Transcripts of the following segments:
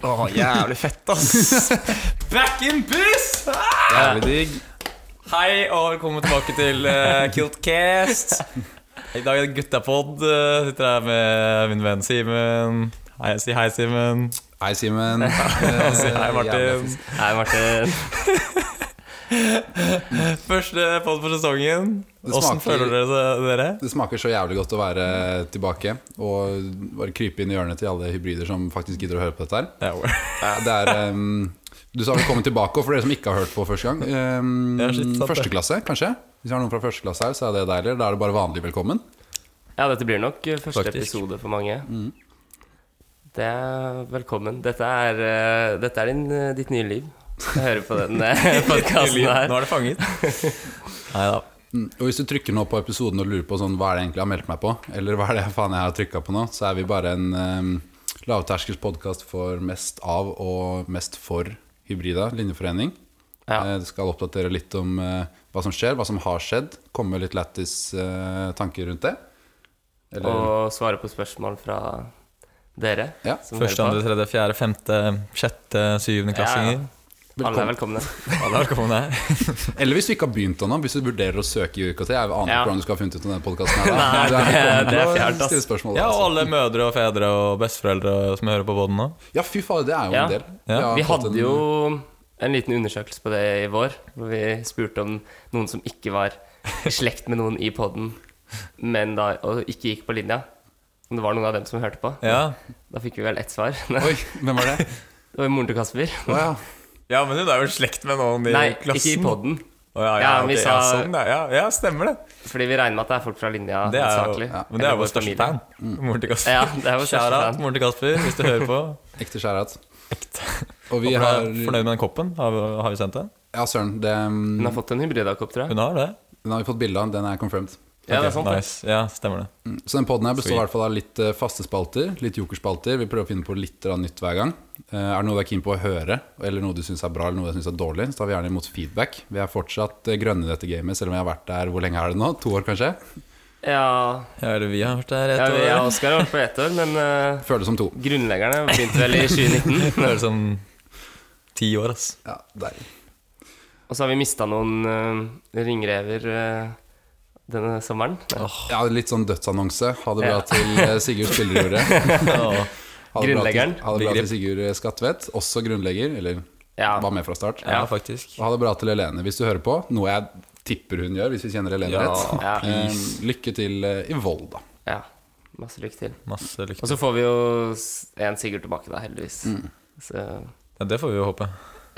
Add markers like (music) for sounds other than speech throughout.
Åh, jævlig fett, ass. Back in buss! Jævlig digg. Hei og velkommen tilbake til eh, Kiltcast. I dag er det guttapod. eh, Sitter her med min venn Simen. Hei, si hei, Simen. Hei, Simen. Si Eh, hei, Martin. Hei, Martin. (laughs) Første pod for sesongen. Det Åssen smaker- føler dere seg- dere? Det smaker så jævlig godt å være tilbake og bare krype inn i hjørnet til alle hybrider som faktisk gidder å høre på dette her. Ja, well. Ja, Det er ehm, Du sa velkommen tilbake, og for dere som ikke har hørt på første gang. ehm, Ja, shit, sant det. første klasse, kanskje? Hvis vi har noen fra første klasse her, så er det deilig. Da er det bare vanlig velkommen. Ja, dette blir nok eh, første Faktisk. Mm. episode for mange. Det er Velkommen. Dette er, eh, dette er din, eh, ditt nye liv. Jeg hører på den (laughs) (laughs) podkasten her. Nå er det fanget. Nei da. Mm, Og hvis du trykker nå på episoden og lurer på sånn, hva er det egentlig jeg har meldt meg på, eller hva er det faen jeg har trykka på nå, så er vi bare en um, lavterskelspodkast for mest av og mest for hybrida linjeforening. Ja. Eh, Det skal oppdatere litt om eh, hva som skjer, hva som har skjedd. Komme med litt lættis eh, tanker rundt det. Eller, Og svare på spørsmål fra dere. Ja, som Første, hører andre, tredje, fjerde, femte, sjette, syvende klassinger. på. Alle er velkomne. (laughs) Alle er velkomne her. eller hvis du ikke har begynt ennå, hvis du vurderer å søke i UKT. Jeg aner Ja. ikke hvordan du skal ha funnet ut om denne podkasten. her da. (laughs) Nei, Du er det- velkommen (laughs) det er til å fjernt, ass. stille spørsmål, Ja, og altså. alle mødre og fedre og besteforeldre som hører på båten nå. ja, fy faen, det er jo Ja. en del. Ja. Jeg har Vi fått hadde en- jo en liten undersøkelse på det i vår, hvor vi spurte om noen som ikke var i slekt med noen i poden, men da og ikke gikk på linja. Om det var noen av dem som hørte på. Ja. Da fikk vi vel ett svar. Det Oi, hvem var (laughs) det? var jo moren til Kasper. Å ja. ja, men hun er jo i slekt med noen i Nei, klassen. ikke i poden. Å, ja, ja, Ja, vi ok, ja, sa- sånn, ja, ja, ja, stemmer det. Fordi vi regner med at det er folk fra linja Det er jo, hovedsakelig. ja. Men det er Eller jo vår største familie. Mm. fan. Moren til Kasper. Ja, det er vår største Shout out, fan. moren til Kasper, hvis du hører på. (laughs) Ekte skjærat. Ekte. Og vi Håper du har er fornøyd med den koppen. Har vi, har vi sendt den? Ja, søren. Det, Hun har den fått en hybridakopp, tror jeg. Hun har det? har vi fått bilde av. Den er confirmed. Ja, det Ok, er sant. det. Nice. Ja, stemmer det. Så den poden her består Sweet. i hvert fall av litt eh, faste spalter, litt jokerspalter. Vi prøver å finne på litt grann nytt hver gang. Eh, Er det noe du er keen på å høre, eller noe du syns er bra eller noe du syns er dårlig, så tar vi gjerne imot feedback. Vi er fortsatt eh, grønne i dette gamet, selv om jeg har vært der hvor lenge er det nå? To år, kanskje? Ja, Ja, eller vi har vært der ja, et vi- ja år. Oskar har vært på ett år, men eh, Føles som to. grunnleggerne begynte vel i 2019. (laughs) Det er sånn ti år, ass. (laughs) Ja, der. Og så har vi mista noen eh, ringrever eh, denne sommeren. ja litt sånn dødsannonse. Ha det bra Ja. til eh, Sigurd Spillerjordet. Ja. Ha det bra til, Grunnleggeren. ha det bra til Sigurd Skatvedt, også grunnlegger, eller Ja. var med fra start. ja, faktisk. Og ha det bra til Helene hvis du hører på, noe jeg tipper hun gjør hvis vi kjenner Helene Ja, rett. ja. (laughs) Eh, lykke til eh, i Volda. Ja, Masse lykke til. Masse Og lykke så til. får vi jo s- en Sigurd tilbake, da, heldigvis. Mm. Så Ja, det får vi jo håpe.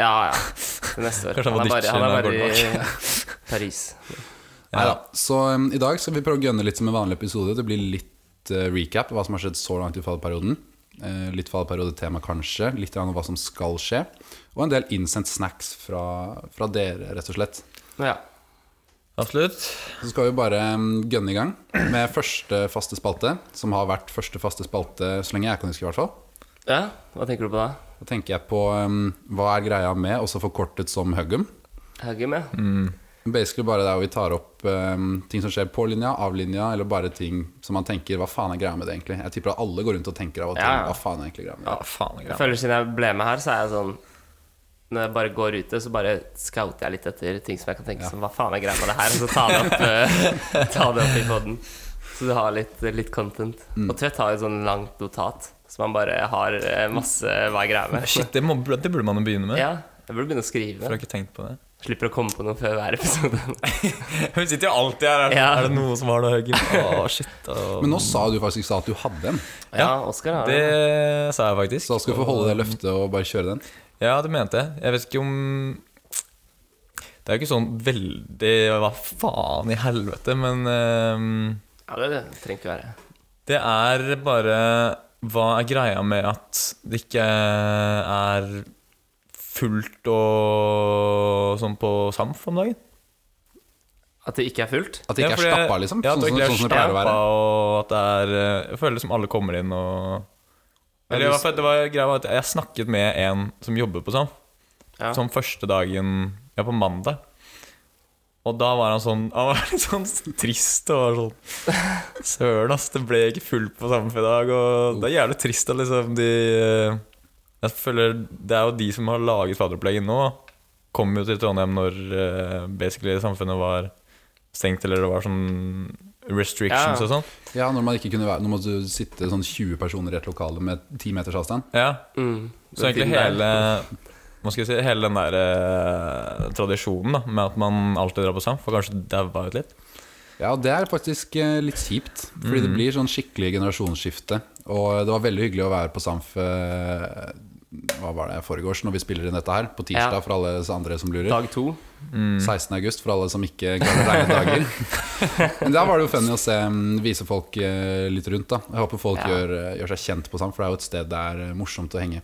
ja, ja. Til neste år. Kanskje han må Han er bare, ditche han er når bare han i Paris. Neida. Så eh, i dag skal vi prøve å gønne litt som en vanlig episode. Det blir litt eh, recap av hva som har skjedd så langt i fallperioden. Eh, litt fallperiodetema, kanskje. Litt grann om hva som skal skje. Og en del innsendt snacks fra, fra dere, rett og slett. Ja. Absolutt. Så skal vi bare mm, gønne i gang med første faste spalte, som har vært første faste spalte så lenge jeg kan huske, i hvert fall. ja, hva tenker du på da? Da tenker jeg på um, hva er greia med, også forkortet som Huggum. Haugum, ja. Basically bare der hvor vi tar opp um, ting som skjer på linja, av linja, eller bare ting som man tenker Hva faen er greia med det, egentlig? Jeg tipper at alle går rundt og tenker av og til Ja, ja. hva faen er egentlig greia med det. Ja, faen. Jeg Ja. føler siden jeg ble med her, så er jeg sånn Når jeg bare går ute, så bare scouter jeg litt etter ting som jeg kan tenke som Hva faen er greia med det her? Og så ta det opp, eh, (laughs) ta det opp i poden. Så du har litt, litt content. Og Tvedt har jo et sånn langt notat som han bare har eh, masse Hva er greia med? Shit, det, må, det burde man jo begynne med. Ja, jeg burde begynne å For jeg skrive. har ikke tenkt på det. Slipper å komme på noe før hver episode. Hun sitter jo alltid her. Er, Ja. er det noen som har noe høyere? Å, shit. å. Men nå sa du faktisk i stad at du hadde en, Ja, Oskar har det. Det sa jeg faktisk. så da skal du få holde det løftet og bare kjøre den. Ja, det mente jeg. Jeg vet ikke om Det er jo ikke sånn veldig Hva faen i helvete, men eh, Ja, det, det trenger ikke være. Det er bare Hva er greia med at det ikke er fullt og sånn på Samf om dagen? At det ikke er fullt? At det ikke fordi er jeg- stappa, liksom. Ja, at sånn, det som- ikke sånn som det er pleier å stappa, være. og at det er eh, Jeg føler det som alle kommer inn og Eller i hvert fall, det var greia var at jeg snakket med en som jobber på sånn, Ja. sånn første dagen Ja, på mandag. Og da var han sånn Han var (laughs) litt sånn trist og var sånn Søren, ass, det ble ikke fullt på Samf i dag, og det er jævlig trist at liksom de eh, Jeg føler Det er jo de som har laget fadderopplegget nå, kom jo til Trondheim når eh, basically samfunnet var stengt, eller det var sånn restrictions Ja. og sånn. Ja, når man ikke kunne være Når man måtte sitte sånn 20 personer i et lokale med ti meters avstand. Ja, Mm. Så egentlig Den tiden hele hva skal jeg si, hele den der eh, tradisjonen da med at man alltid drar på SAMF, har kanskje daua ut litt. Ja, det er faktisk eh, litt kjipt. Fordi Mhm. det blir sånn skikkelig generasjonsskifte. Og det var veldig hyggelig å være på Samf eh, Hva var det foregårs, når vi spiller inn dette her? På tirsdag, Ja. Mm. for alle andre som lurer. der. Dag to. 16. august, for alle som ikke klarer å regne dager. (laughs) Men der var det jo funny å se, mm, vise folk eh, litt rundt. da Jeg håper folk Ja. gjør, eh, gjør seg kjent på Samf, for det er jo et sted det er eh, morsomt å henge.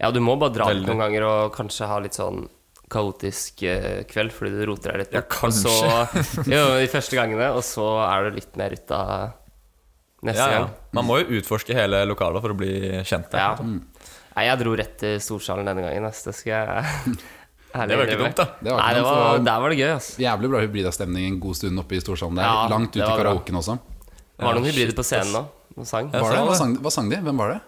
Ja, du må bare dra Veldig. ut noen ganger og kanskje ha litt sånn kaotisk eh, kveld fordi du roter deg litt. Ja, bort. Og Så, (laughs) jo, de første gangene, og så er du litt mer ute av neste Ja, ja. gang. Man må jo utforske hele lokalet for å bli kjent. Ja. der Nei, jeg dro rett til Storsalen denne gangen, ass. Det skal (laughs) jeg Det var jo ikke dumt, da. Det var ikke Nei, det dumt, det var, var- der var det gøy, ass. Jævlig bra hybrida stemning en god stund oppe i Storsalen der. Ja, Langt ut det i var bra. karaoken også. Det var Ja, noen hybrider shit, på scenen nå, og sang. Ja. Var det? sa Hva det. sang, hva sang de? Hvem var det?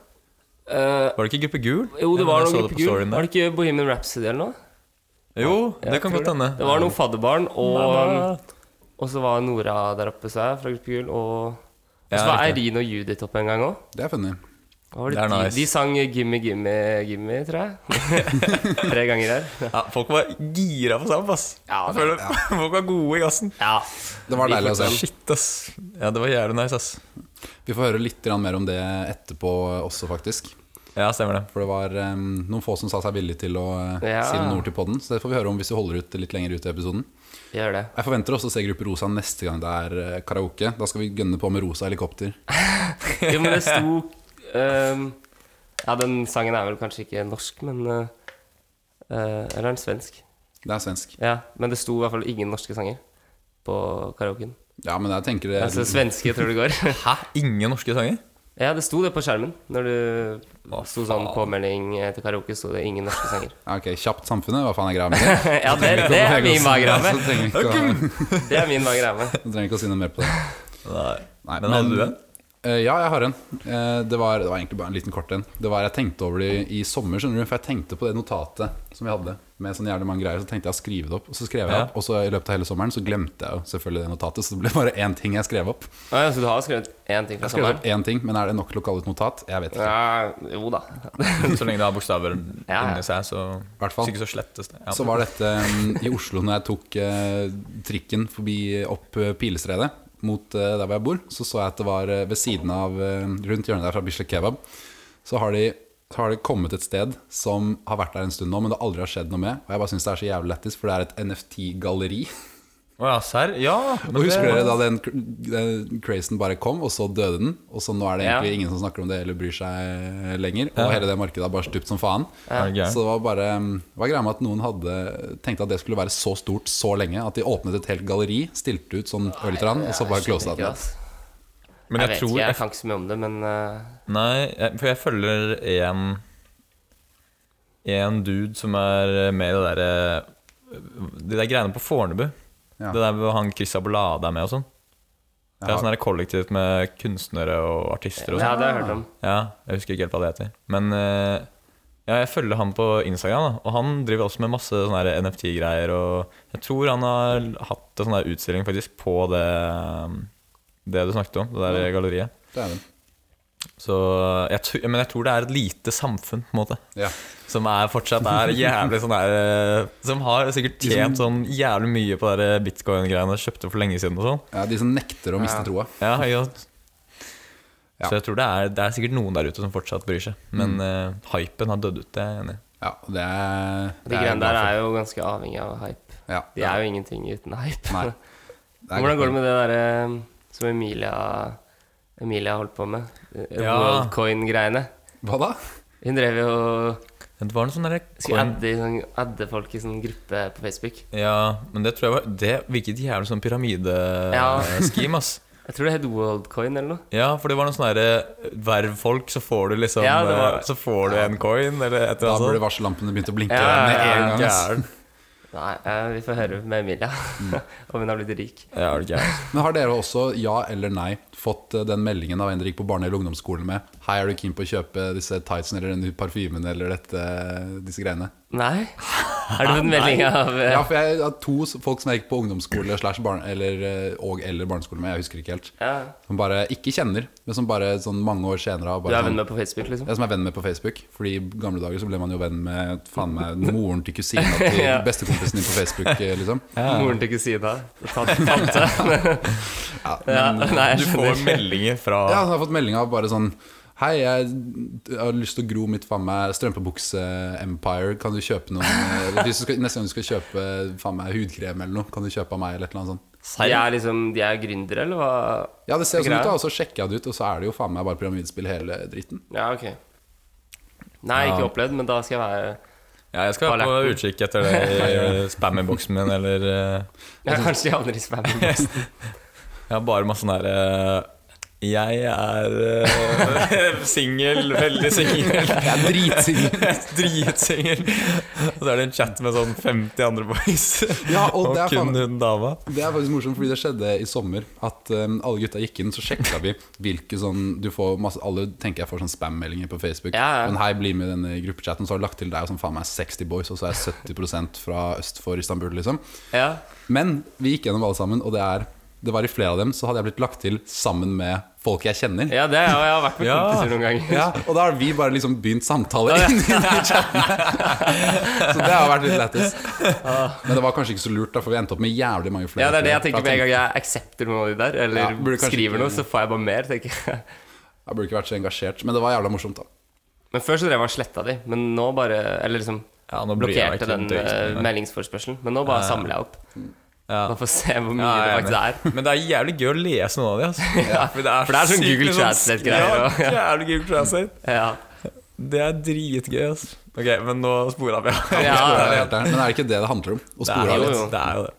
Eh, Var det ikke Gruppe Gul? jo, det var Jeg så noen på gruppe gul. storyen der. Var det ikke Bohemian Rhapsody eller noe? Jo, det kan godt hende. Det var noen fadderbarn, Mamma. og, og så var Nora der oppe, sa jeg, fra gruppe gul. Og, og så Ja, var riktig. Eirin og Judith oppe en gang òg. Det er funny. Hva var Det det er nice. de, de sang 'Gimme, gimme, gimme', tror jeg. (laughs) Tre ganger der. Ja, folk var gira på SAMF, ass. Ja, Jeg føler (laughs) Folk var gode i gassen. Ja. Det var deilig å se. Shit, ass. Ja, det var jævlig nice, ass. Vi får høre litt grann mer om det etterpå også, faktisk. Ja, stemmer det. For det var eh, noen få som sa seg villige til å eh, Ja. si noen ord til podden. Så det får vi høre om hvis vi holder ut litt lenger ut i episoden. Gjør det. Jeg forventer også å se Gruppe Rosa neste gang det er eh, karaoke. Da skal vi gønne på med rosa helikopter. Jo, men det sto ehm, Ja, den sangen er vel kanskje ikke norsk, men eh, eh, Eller er den svensk? Det er svensk. Ja, men det sto i hvert fall ingen norske sanger på karaoken. Ja, men jeg tenker det Altså svenske, tror jeg det går. Hæ? Ingen norske sanger? Ja, det sto det på skjermen. Når du Hva sto sånn faen? påmelding til karaoke, sto det ingen norske sanger. Ja, Ok, Kjapt samfunnet, hva faen er greia med det? Ja, det, (laughs) det er min (laughs) magerame. Så trenger vi ikke å, Det er min magerame. så trenger vi ikke å si noe mer på det. Nei. Nei, Men hadde du en? Eh, ja, jeg har en. Eh, det, var, det var egentlig bare en liten kort en. Det var Jeg tenkte over det i, i sommer, skjønner du. For jeg tenkte på det notatet som vi hadde. Med sånn jævlig mange greier Så tenkte jeg å skrive det opp. Og så skrev jeg Ja. opp Og så i løpet av hele sommeren så glemte jeg jo selvfølgelig det notatet. Så det ble bare én ting jeg skrev opp. Å ja, så du har skrevet én ting fra Jeg skrev sommeren? opp én ting, Men er det nok lokalt notat? Jeg vet ikke. Ja, jo da. Så lenge det har bokstaver Ja, ja. inni seg, så Hvert fall. Hvis ikke så slettes det. Ja. Så var dette um, i Oslo når jeg tok eh, trikken forbi opp eh, Pilestredet mot eh, der hvor jeg bor. Så så jeg at det var eh, ved siden av eh, rundt hjørnet der fra Bislett Kebab. Så har, de, så har det kommet et sted som har vært der en stund nå, men det aldri har skjedd noe med. Og jeg bare syns det er så jævlig lættis, for det er et NFT-galleri. Å ja, serr? Ja. men Og husker det- dere da den, cr- den crazen bare kom, og så døde den? Og så nå er det Ja. egentlig ingen som snakker om det eller bryr seg eh, lenger. Og Ja. hele det markedet har bare stupt som faen. Er det gæren? Så det var bare mm, det var greia med at noen hadde tenkte at det skulle være så stort så lenge at de åpnet et helt galleri, stilte ut sånn ørlite grann, og så bare closa det. ned. Jeg, Men vet jeg tror ikke, jeg kan ikke så mye om det, men eh, Nei, jeg, for jeg følger en En dude som er med i det der eh, De der greiene på Fornebu. Ja. Det der hvor han Chris Abolade er med og sånn. Det er Jaha. sånn der kollektivt med kunstnere og artister og Ja, sånn. det har jeg hørt om. Ja, jeg husker ikke helt hva det heter. Men eh, ja, jeg følger han på Instagram, da, og han driver også med masse sånne her NFT-greier. Og jeg tror han har hatt en sånn her utstilling faktisk på det, eh, det du snakket om, det der galleriet. Det er det. Så jeg, tr- men jeg tror det er et lite samfunn på en måte Ja. som er fortsatt er jævlig sånn her eh, Som har sikkert tjent sånn jævlig mye på de der bitcoin-greiene kjøpte for lenge siden og sånn. ja, De som nekter å miste troa. Ja, ikke sant? Ja. Så jeg tror det er, det er sikkert noen der ute som fortsatt bryr seg. Men eh, hypen har dødd ut, det er jeg enig i. Ja, og det er, De jeg greiene glad der for. er jo ganske avhengig av hype. ja, De er jo ingenting uten hype. (laughs) Nei. er Hvordan går godt. det med det derre som Emilia Emilia holdt på med? Eh, Ja. Worldcoin-greiene. Hva da? Hun drev jo og Det var noe sånn derre skulle coin- adde, i sånn, adde folk i sånn gruppe på Facebook. Ja, men det tror jeg var Det virket jævlig som Ja. pyramideskim, ass. Jeg tror det het Worldcoin eller noe. Ja, for det var noe sånn derre Verv folk, så får du liksom Ja, det var- eh, Så får du en coin, eller et Da eller burde annet sånt. varsellampene begynt å blinke Ja, ja, med ja, en gang. ass. Gæren. Nei, eh, vi får høre med Emilia Mm. (laughs) om hun har blitt rik. Ja, er det gærent? Men har dere også, ja eller nei, fått eh, den meldingen av en dere gikk på barne- eller ungdomsskolen med Hei, er du keen på å kjøpe disse tightsene eller denne parfymen eller dette, disse greiene? Nei? (laughs) Har du fått melding av eh, Ja, for jeg har to s- folk som jeg gikk på ungdomsskole slash barne- eller, eh, og eller barneskole med, jeg husker ikke helt, ja. som bare ikke kjenner, men som bare sånn mange år senere har Du bare er venn sånn- med på Facebook, liksom? jeg som er venn med på Facebook. Fordi i gamle dager så ble man jo venn med faen meg moren til kusina (laughs) til Ja. bestekompisen din på Facebook. eh, liksom Moren til kusina. (laughs) Tante. tante. Ja, (laughs) Ja, nei, (laughs) jeg Du skjønner. får meldinger fra Ja, så har jeg fått melding av bare sånn Hei, jeg har lyst til å gro mitt faen meg strømpebukse-empire. Kan du kjøpe (laughs) noe? Eller hvis du skal, neste gang du skal kjøpe faen meg hudkrem eller noe, kan du kjøpe av meg? eller et eller annet sånt De er liksom De er gründere, eller hva? Ja, det ser jo sånn ut, Greier. da, og så sjekker jeg det ut, og så er det jo faen meg bare pyramidespill hele dritten. Ja, ok. Nei, ikke opplevd, men da skal jeg være Ja, jeg skal være på utkikk etter (laughs) det i spam-innboksen min, eller eh, (laughs) ja, Kanskje de havner i spam. Jeg har bare masse sånn her eh, Jeg er uh, (laughs) singel, veldig singel, (laughs) Jeg er dritsingel. dritsingel. Og så er det en chat med sånn 50 andre boys, Ja, og og det er faen kun hun dama. (laughs) Det er faktisk morsomt, fordi det skjedde i sommer. At um, alle gutta gikk inn, så sjekka vi hvilke sånn Du får masse Alle tenker jeg får sånn spam-meldinger på Facebook. Ja, ja. Men hei, bli med i denne gruppechatten. Så har du lagt til deg sånn faen meg 60 boys, og så er jeg 70 fra øst for Istanbul, liksom. Ja. Men vi gikk gjennom alle sammen, og det er Det var i flere av dem så hadde jeg blitt lagt til sammen med folk jeg kjenner. ja, det har jeg har vært med Ja. kompiser noen ganger. Ja, og da har vi bare liksom begynt samtale inn i de chattene. Så det har vært litt lættis. Men det var kanskje ikke så lurt, da, for vi endte opp med jævlig mange flere. Ah. Ja, det er det jeg fra tenker med en gang jeg aksepter noen av de der, Ja, eller burde kanskje skriver ikke- noe, så får jeg bare mer, tenker jeg. (laughs) Jeg burde ikke vært så engasjert, men det var jævla morsomt. da Men før så drev jeg og sletta de, men nå bare Eller liksom Ja, nå bryr jeg meg blokkerte ikke den om det, eh, liksom. meldingsforspørselen, men nå bare samler jeg opp. Ja. Bare for å se hvor mye Ja, jeg er det faktisk er. enig. Men det er jævlig gøy å lese noen av de. Altså. for, (laughs) det for det er sånn sykt Google mye Translate-greier også, Ja, jævlig Google Translate. (laughs) Ja. Det er dritgøy. Altså. Ok, men nå spora vi av. Ja, Det er helt ærlig, Men er det ikke det det handler om? Å Det er spore av jo- litt? litt. Det er jo det.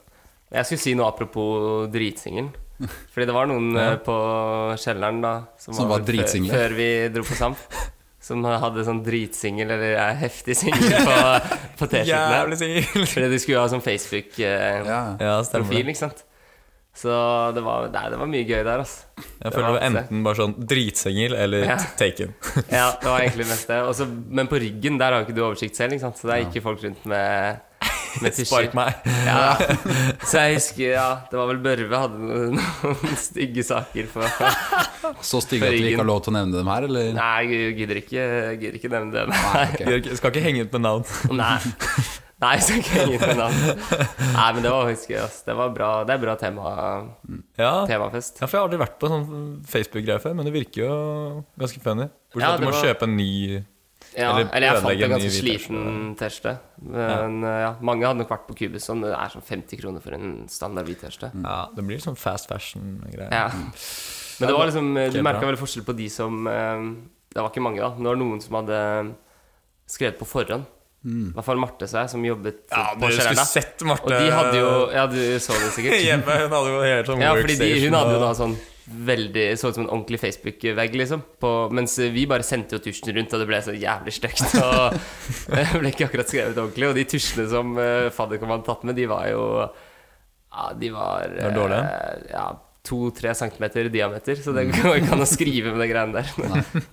Jeg skulle si noe apropos dritsingelen. Fordi det var noen (laughs) eh, på kjelleren da Som var dritsingler. Før, før vi dro på (laughs) Samp. Som hadde sånn dritsingel, eller eh, heftig singel, på, (laughs) på T-skjortene. Jævlig singel. Fordi de skulle jo ha sånn Facebook-profil, Ja. (laughs) Ja, stemmer det. ikke sant. Så det var, nei, det var mye gøy der, altså. Jeg føler det var enten bare sånn dritsingel eller Ja. taken. (laughs) Ja, det var egentlig mest det. Også, men på ryggen der har jo ikke du oversikt selv, ikke sant? så der gikk jo folk rundt med, (laughs) med tusjer. Spark meg. (laughs) (laughs) Ja. Så jeg husker ja, det var vel Børve hadde noen, (laughs) noen stygge saker for (laughs) Så stygge at vi ikke har lov til å nevne dem her, eller? Nei, jeg gidder ikke, jeg gidder ikke nevne det. Nei. (laughs) Nei, ok. Bjørk, Skal ikke henge ut med navn. (laughs) Nei. Nei, så kan jeg ingen navn. Nei, men det var faktisk gøy. ass. Det, var bra, det er bra tema, Ja. ja, temafest. for jeg har aldri vært på sånn Facebook-greie før, men det virker jo ganske funny. Bortsett Ja, at du det må var- kjøpe en ny Ja, Eller eller, jeg fant ødelegge en en ny ganske hvit sliten T-skjorte. Men eh, ja, mange hadde nok vært på Cubus, sånn. Det er sånn 50 kroner for en standard hvit T-skjorte. Ja, det blir sånn fast fashion-greie. Ja. Men det var liksom Mm. Ok, Du merka bra. vel forskjell på de som eh, Det var ikke mange, da. Men det var noen som hadde eh, skrevet på forhånd. I hvert fall Marte seg, som jobbet Mm. Ja, på dere skulle Kjelleren. da. sett Marte Og de hadde jo Ja, du så det (laughs) sikkert. hjemme. Hun hadde jo helt sånn Ja, fordi de, workstation hun hadde jo da og- sånn veldig Så ut som en ordentlig Facebook-vegg, liksom. På, mens vi bare sendte jo tusjen rundt, og det ble så jævlig stygt. (laughs) Og (laughs) det ble ikke akkurat skrevet ordentlig. Og de tusjene som uh, fadderkom hadde tatt med, de var jo Ja, de var var dårlige? eh, ja, to-tre centimeter i diameter. Så det (laughs) går ikke an å skrive med de greiene der.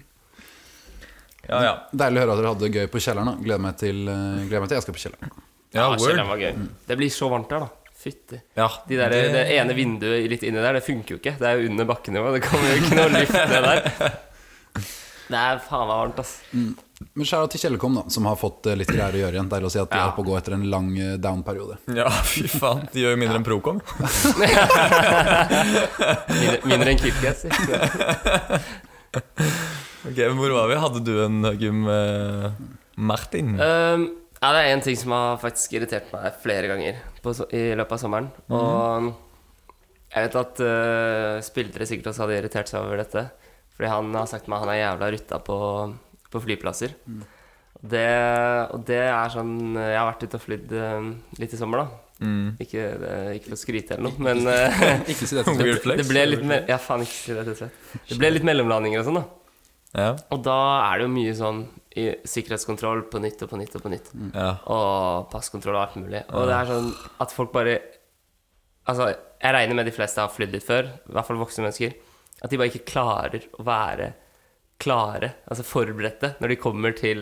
Ja, ja. Deilig å høre at dere hadde det gøy på kjelleren. da Gleder meg til, eh, gleder meg til jeg skal på kjelleren. ja, (laughs) Ja, word. kjelleren var gøy. Det blir så varmt der, da. Fytti. Ja, De der, det... ene vinduet litt inni der, det funker jo ikke. Det er jo under bakkenivå. Det kommer jo ikke noe luft ned der. Det er faen meg varmt, (laughs) ass. Men skjæra til Kjellekom, da, som har fått eh, litt greier å gjøre igjen. Deilig å si at de Ja. er på å gå etter en lang eh, down-periode. ja, fy faen. De gjør jo mindre enn Procom. Mindre, mindre enn Kiltgate, sier Ok, men Hvor var vi? Hadde du en Gym eh, Martin? um, ja, Det er en ting som har faktisk irritert meg flere ganger på, so- i løpet av sommeren. Og jeg vet at uh, spillere sikkert også hadde irritert seg over dette. Fordi han har sagt til meg at han er jævla rutta på, på flyplasser. Det, og det er sånn Jeg har vært ute og flydd um, litt i sommer, da. Mm. Ikke, det- ikke for å skryte eller noe, men uh, Ikke si det Weird til det, det flex. ble litt me- Ja, faen, ikke si det til Sven. Det ble litt mellomlandinger og sånn, da. Ja. Og da er det jo mye sånn i sikkerhetskontroll på nytt og på nytt og på nytt. Ja. Og passkontroll og alt mulig. Og det er sånn at folk bare Altså, jeg regner med de fleste har flydd litt før, i hvert fall voksne mennesker, at de bare ikke klarer å være klare, altså forberedte, når de kommer til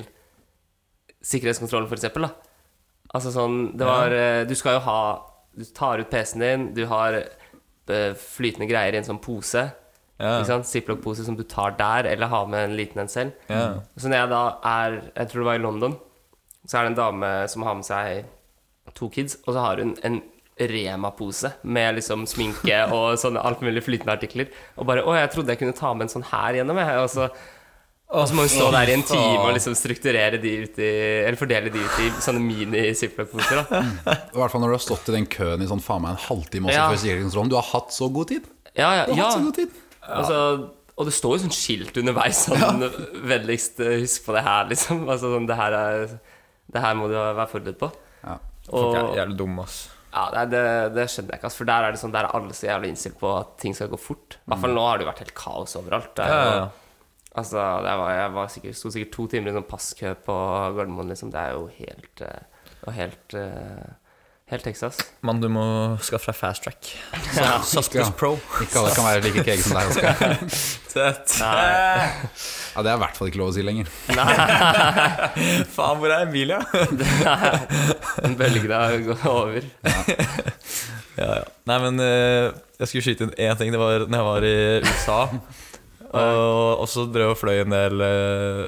sikkerhetskontrollen, for eksempel, da. Altså sånn, det var eh, Du skal jo ha Du tar ut PC-en din, du har eh, flytende greier i en sånn pose. Ja. Ikke sant? Ziplock-pose som du tar der, eller har med en liten en selv. Ja. Så når jeg da er Jeg tror det var i London, så er det en dame som har med seg to kids, og så har hun en Rema-pose med liksom (laughs) sminke og sånne alt mulig flytende artikler. Og bare Å, jeg trodde jeg kunne ta med en sånn her gjennom, jeg. Og så og så må hun stå der i en time og liksom strukturere de ut i Eller fordele de ut i sånne mini-ziplock-poser. (laughs) da. (laughs) I hvert fall når du har stått i den køen i sånn faen meg en halvtime også Ja. for sikkerhetskontrollen. Du har hatt så god tid! Ja, ja, Du har ja. hatt så god tid! Altså, og det står jo sånn skilt underveis sånn (laughs) Vennligst eh, husk på det her, liksom. Altså, sånn, det, her er, det her må du være forberedt på. Ja. Folk er Og, ja, jævlig dumme, ass. nei, det, det skjønner jeg ikke, ass. For der er det sånn, der er alle så jævlig innstilt på at ting skal gå fort. I hvert fall nå har det jo vært helt kaos overalt. Det er Ja, jo- ja, ja. Altså, det var, jeg var sikkert, sto sikkert to timer i sånn passkø på Gardermoen, liksom. Det er jo helt eh, Og helt eh, Helt Texas. Mann, du må skaffe deg fast (laughs) track. Suspect Pro. Ikke alle kan være like keeg som deg. Oskar. Tett. (laughs) Ja, det er i hvert fall ikke lov å si lenger. (laughs) Faen, hvor er Emilia? (laughs) Bølgene går over. Ja, ja. Nei, men eh, jeg skulle skyte inn én ting. Det var når jeg var i USA. (laughs) og, og så drev og fløy en del eh,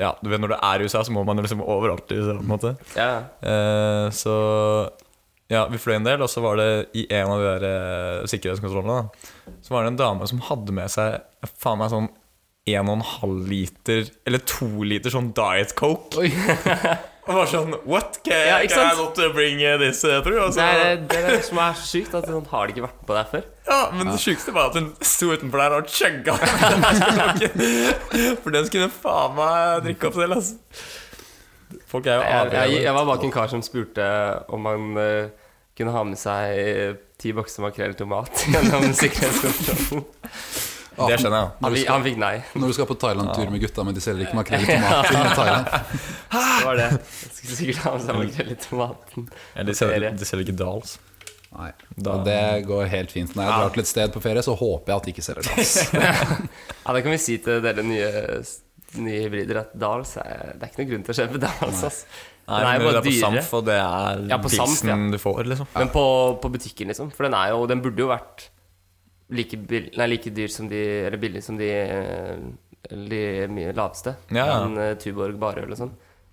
Ja, du vet når du er i USA, så må man jo liksom overalt i USA. på en måte Ja. Eh, Så ja, vi fløy en del, og så var det i en av de der eh, sikkerhetskontrollene da, Så var det en dame som hadde med seg faen meg sånn 1,5 liter eller 2 liter sånn Diet Coke. Oi. (laughs) Og var sånn What? Can, Ja, ikke can I sant? not bring eh, this eh, through? Og så- Det er det, er det som er så sykt, at sånn har de ikke vært på der før. Ja, men det sjukeste var at hun sto utenfor der og chugga. (laughs) den. For den skulle hun faen meg drikke opp selv, altså. Folk er jo Jeg, jeg, avhengige. jeg var bak en kar som spurte om han eh, kunne ha med seg eh, ti bokser makrell i tomat (laughs) gjennom sikkerhetskontrollen. Ja, Det skjønner jeg. Han, han fikk nei. Når du skal på Thailand-tur med gutta, men de selger ikke makrell i tomater (laughs) i Thailand. Det var det. Jeg skulle sikkert ha med seg makrell i tomaten. Ja, de, selger, de selger ikke Dahls. Nei, Da- og Det går helt fint. Når jeg drar til et sted på ferie, så håper jeg at de ikke (laughs) selger dass. Ja, det kan vi si til dere nye, nye hybrider, at Dahls er Det er ikke noen grunn til å kjøpe Dahls, ass. Nei, Den er men det jo er bare på dyrere. Samf, og det er Ja, på Samf, pilsen du får, liksom. Men på, på butikken, liksom. For den er jo Den burde jo vært like, bill- nei, like dyr som de Eller billig som de eh, De mye laveste. Ja, ja. En eh, Tuborg barøl og sånn.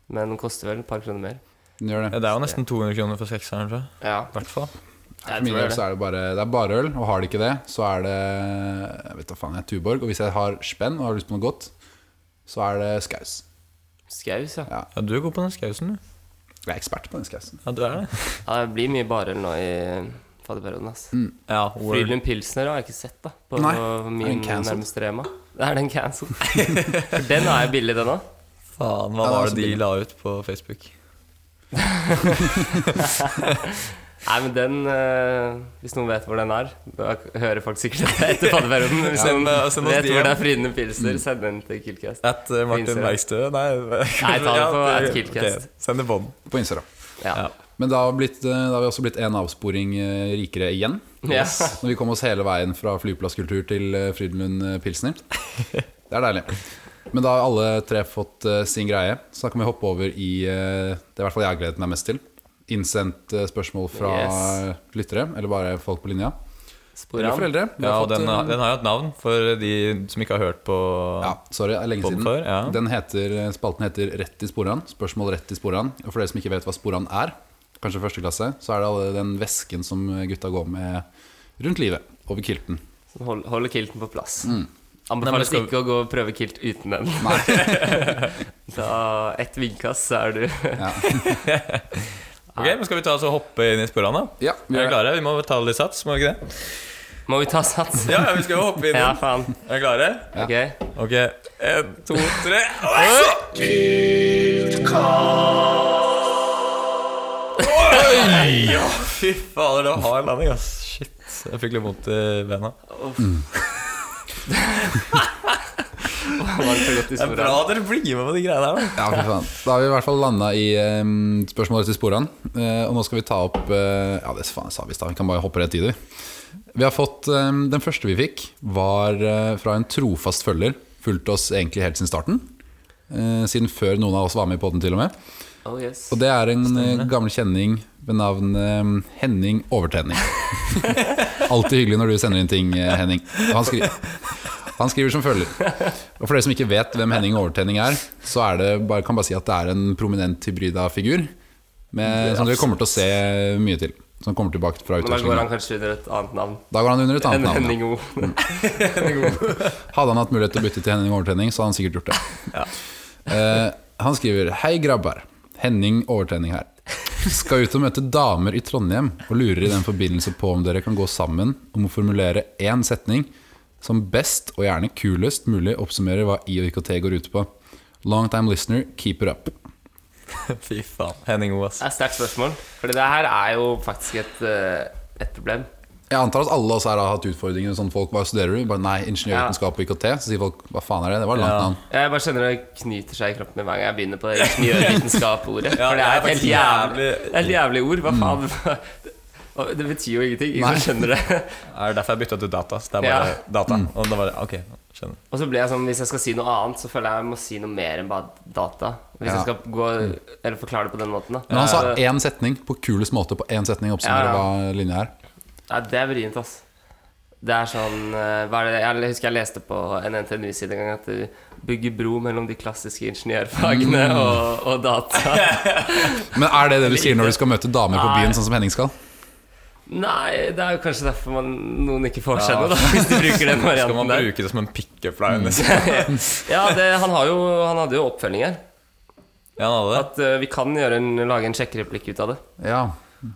Men den koster vel et par kroner mer. Den Gjør Ja, det. det er jo nesten 200 kroner for sekseren, tror jeg. Ja, I hvert fall. jeg For min tror del det. så er det bare Det er bare øl, og har de ikke det, så er det jeg vet da faen, jeg er Tuborg. Og hvis jeg har spenn og har lyst på noe godt, så er det skaus. Skaus, ja. Ja. Ja, du er god på den skausen, du. Jeg er ekspert på den skausen. Ja, du er det. ja. Det blir mye barøl nå i fadderperioden, ass. Ja, word. Frydlund Pilsner har jeg ikke sett, da. På Nei, er min den cancelled? nærmeste Rema. Det er den cancelled. (laughs) For den er jo billig, den òg. Faen, hva Ja, det er var det også altså de billig. la ut på Facebook? Nei, men den eh, Hvis noen vet hvor den er Da hører folk sikkert det etter fadderperioden. men Hvis Ja, noen men, eh, send oss Mm. vet DM. hvor det er Frydlund Pilsner, send den til Killcast. At eh, Martin Instagram. Bergstø? Nei, (laughs) Nei, ta det på Ja, at Killcast. ok, Send det bånd. På Instagram. Ja. Men da har, blitt, eh, da har vi også blitt en avsporing eh, rikere igjen. Ja. Når vi kom oss hele veien fra flyplasskultur til eh, Frydenlund eh, (laughs) Pilsner. Det er deilig. Men da har alle tre fått eh, sin greie, så da kan vi hoppe over i eh, det er i hvert fall jeg har gledet meg mest til. Innsendt eh, spørsmål fra Yes. eh, lyttere, eller bare folk på linja. Spor Eller han. foreldre. Vi har Ja, og fått, den, har- eh, den har jo et navn for de som ikke har hørt på ja, sorry, det er lenge Fått den siden. før, ja. Den heter, spalten heter Rett i sporan. Spørsmål rett i sporan. Og for dere som ikke vet hva sporan er, kanskje første klasse, så er det alle den væsken som gutta går med rundt livet. Over kilten. Som hold- holder kilten på plass. Mm. Nei, men Anbefales skal vi- ikke å gå og prøve kilt uten den. (laughs) da ett vindkast, så er du Ok, men Skal vi ta oss og hoppe inn i sporene? da? Ja, Vi gjør er det. klare? Vi må ta litt sats, må vi ikke det? Må vi ta sats? Ja, ja, vi skal jo hoppe inn i Ja, den. faen. Er vi klare? Ok. Ok, en, to, tre Oi! Ja, fy fader, det var hard landing, ass. Shit. Jeg fikk litt vondt i bena. Var så godt i Det er bra sporet. dere blir med på de greiene her, da. Ja, fy faen. Da har vi i hvert fall landa i em, spørsmålet til sporene. Eh, og nå skal vi ta opp eh, Ja, det faen sa vi i stad. Vi kan bare hoppe rett i det. Vi har fått, em, Den første vi fikk, var eh, fra en trofast følger. Fulgte oss egentlig helt siden starten. eh, siden før noen av oss var med i podden til og med. Oh, yes. Og det er en eh, gammel kjenning ved navn eh, Henning (laughs) Overtenning. Alltid hyggelig når du sender inn ting, eh, Henning. Og Han skriver, han skriver som følger. Og for dere som ikke vet hvem Henning Overtenning er, så er det bare, kan bare si at det er en prominent hybrid av figur med, som dere kommer til å se mye til. Som kommer tilbake fra Men da går utvekslingen. han kanskje under et annet navn. Da går han under et Enn annet navn. ja. Henning O. Hadde han hatt mulighet til å bytte til Henning Overtenning, så hadde han sikkert gjort (laughs) det. Eh, han skriver Hei, grabbar. Henning Overtenning her. Skal ut og møte damer i Trondheim, og lurer i den forbindelse på om dere kan gå sammen om å formulere én setning som best og gjerne kulest mulig oppsummerer hva I og IKT går ut på. Long time listener, keep it up. Fy faen. Henning O, ass. Det er et sterkt spørsmål. Fordi det her er jo faktisk et, eh, et problem. Jeg antar at alle oss her har hatt utfordringer. Sånn folk, Hva studerer du? Bare nei, ingeniørvitenskap og IKT. Så sier folk hva faen er det? Det var et langt Ja. navn. Jeg bare kjenner det knyter seg i kroppen min hver gang jeg begynner på det ingeniørvitenskap-ordet. Ja, For det er et helt faktisk jævlig, jævlig- helt jævlig ord. Hva faen? (laughs) Og Det betyr jo ingenting. Ingen som skjønner det. (laughs) Det er derfor jeg bytta til data. ass. Det er bare Ja. Mm. data. Og da var det, ok, skjønner. Og så blir jeg sånn, Hvis jeg skal si noe annet, så føler jeg jeg må si noe mer enn bare data. Hvis Ja. jeg skal gå, eller forklare det på den måten. da Men han sa Så- én setning på kulest måte på én setning oppsummerer Ja, hva linja er. Nei, det er vrient, ass. Det er sånn eh, hva er det, Jeg husker jeg leste på en NTNU-side en gang at du bygger bro mellom de klassiske ingeniørfagene og, og data. Men er det det du sier når du skal møte damer på byen, sånn som Henning skal? Nei, det er jo kanskje derfor man, noen ikke får seg Ja. noe, da, hvis de bruker (laughs) den Skal man varianten der. bruke det som en pick-up line? liksom? Mm. (laughs) Ja, det, han, har jo, han hadde jo oppfølging her. Ja, han hadde det. At eh, vi kan gjøre en, lage en sjekkereplikk ut av det. Ja.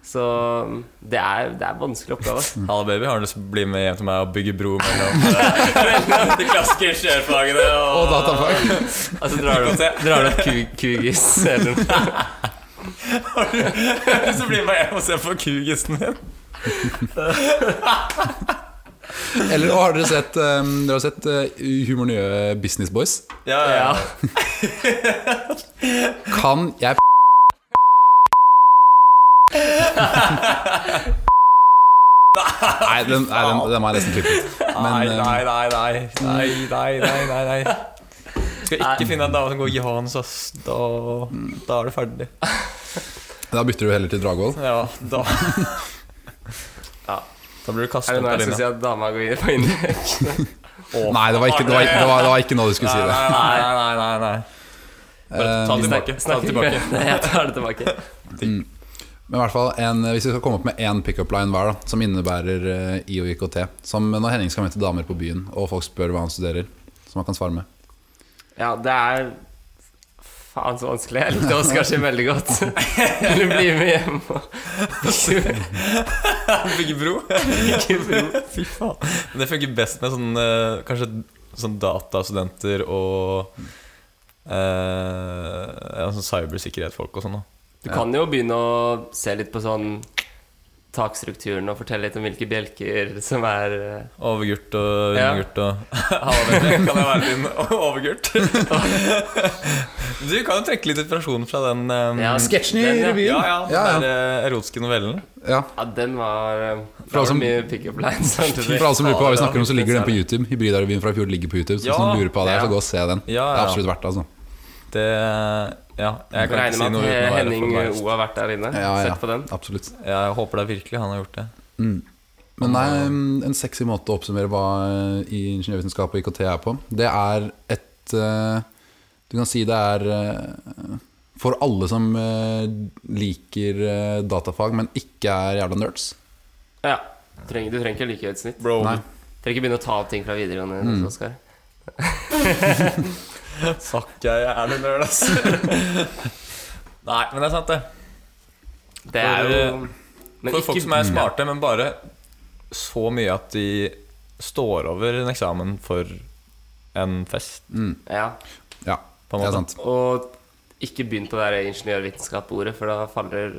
Så mm, det er, det er en vanskelig oppgave. ass. Halla, baby. Har du lyst til å bli med hjem til meg og bygge bro (laughs) mellom eh, de klassiske ingeniørfagene Og datafag. Altså, drar du opp, drar du opp ku- kugis eller noe? (laughs) Så blir jeg med hjem og ser på kugisen din. Eller og har dere sett, um, dere har sett uh, Humor Nye Business Boys? Ja, ja. Ja. Kan jeg Nei, den, nei, den, den var nesten klippet. Nei, Men, eh, nei, nei, nei. Nei, nei, nei, nei, nei. Skal ikke finne en dame som går Jans, ass. Da, da er du ferdig. eh, Da bytter du heller til Dragvoll. Ja, da Ja. Da blir du Er kastet det ut nå av jeg skal si linja. at dama går inn på innlegg? Nei, det var ikke, det var, det var, det var ikke Eh, nå du skulle Nei, si det. nei, nei, nei, nei, nei. Bare ta (laughs) det tilbake. Ta det tilbake. Nei, jeg tar det tilbake. Men i hvert fall, en, Hvis vi skal komme opp med én pickup line hver, da som innebærer eh, I og IKT Som når Henning skal møte damer på byen, og folk spør hva han studerer, som han kan svare med. Ja, det er faen så vanskelig. Jeg likte Oskar sin veldig (laughs) godt. Vil du bli med hjem og (laughs) Bygge bro. (laughs) Fy faen. Men det funker best med sånn eh, Kanskje sånn datastudenter og eh, ja, sånn cybersikkerhetsfolk og sånn. da. Du kan jo begynne å se litt på sånn takstrukturen og fortelle litt om hvilke bjelker som er eh, Overgurt og Ja. undergurt (laughs) og Halla, baby. Kan jeg være din (laughs) overgurt? du kan jo trekke litt inspirasjon fra den eh, Ja, sketsjen i Den, ja. revyen. Ja, ja, den Ja, ja. der eh, erotiske novellen. Ja, Ja, den var eh, For alle Det var som- mye pick-up lines. samtidig. (laughs) For alle som lurer på hva vi snakker om, så ligger den på Ja. YouTube. Hybridarevyen fra i fjor ligger på YouTube. Så hvis Ja, noen lurer på hva det er, ja. så gå og se den. Ja, Det ja. er absolutt verdt det. altså Det eh, Ja, jeg kan Jeg ikke regner si med noe at eh, uten å være Henning for O har vært der inne. Ja, ja, Sett på den. absolutt Jeg håper det er virkelig han har gjort det. Men nei, en sexy måte å oppsummere hva eh, i ingeniørvitenskap og IKT er på, det er et eh, Du kan si det er eh, for alle som eh, liker eh, datafag, men ikke er jævla nerds. Ja. Trenger, du trenger ikke like høyt snitt. Bro. Nei. Trenger ikke begynne å ta opp ting fra videregående. Mm. Oskar. Sakk jeg er noe nerd, (laughs) ass. Nei, men det er sant, det. Det er For, eh, jo Men For folk som er smarte, men bare så mye at de står over en eksamen for en fest, Ja. Ja, på en det måte. er sant. Og Ikke begynn på det der ingeniørvitenskap-ordet, for da faller,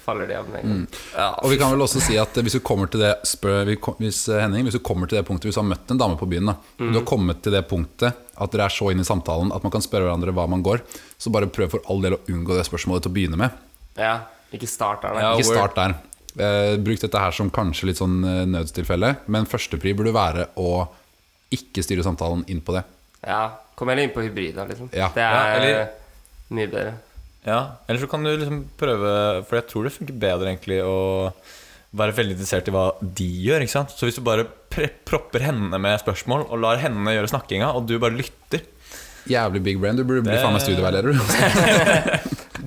faller de av med en gang. Ja, Mm. Og vi kan vel også si at eh, hvis du kommer til det spør, vi kom- hvis, eh, Henning, hvis du kommer til det punktet Hvis du har møtt en dame på byen da, Mhm. Du har kommet til det punktet at dere er så inne i samtalen At man kan spørre hverandre hva man går Så bare prøv for all del å unngå det spørsmålet til å begynne med ja, ikke start der, nei. Ja, Ikke- Ikke start der eh, Bruk dette her som kanskje litt sånn eh, nødstilfelle Men førstepri burde være å Ikke styre samtalen inn på det ja, kom heller inn på hybrida, liksom. Ja. Det er Ja, eller- mye (laughs) bedre. Ja, eller så kan du liksom prøve For jeg tror det funker bedre egentlig å være veldig interessert i hva de gjør. ikke sant? Så hvis du bare pre propper henne med spørsmål og lar henne gjøre snakkinga, og du bare lytter Jævlig big brain, du burde bli Det- faen meg studieveileder du. (laughs)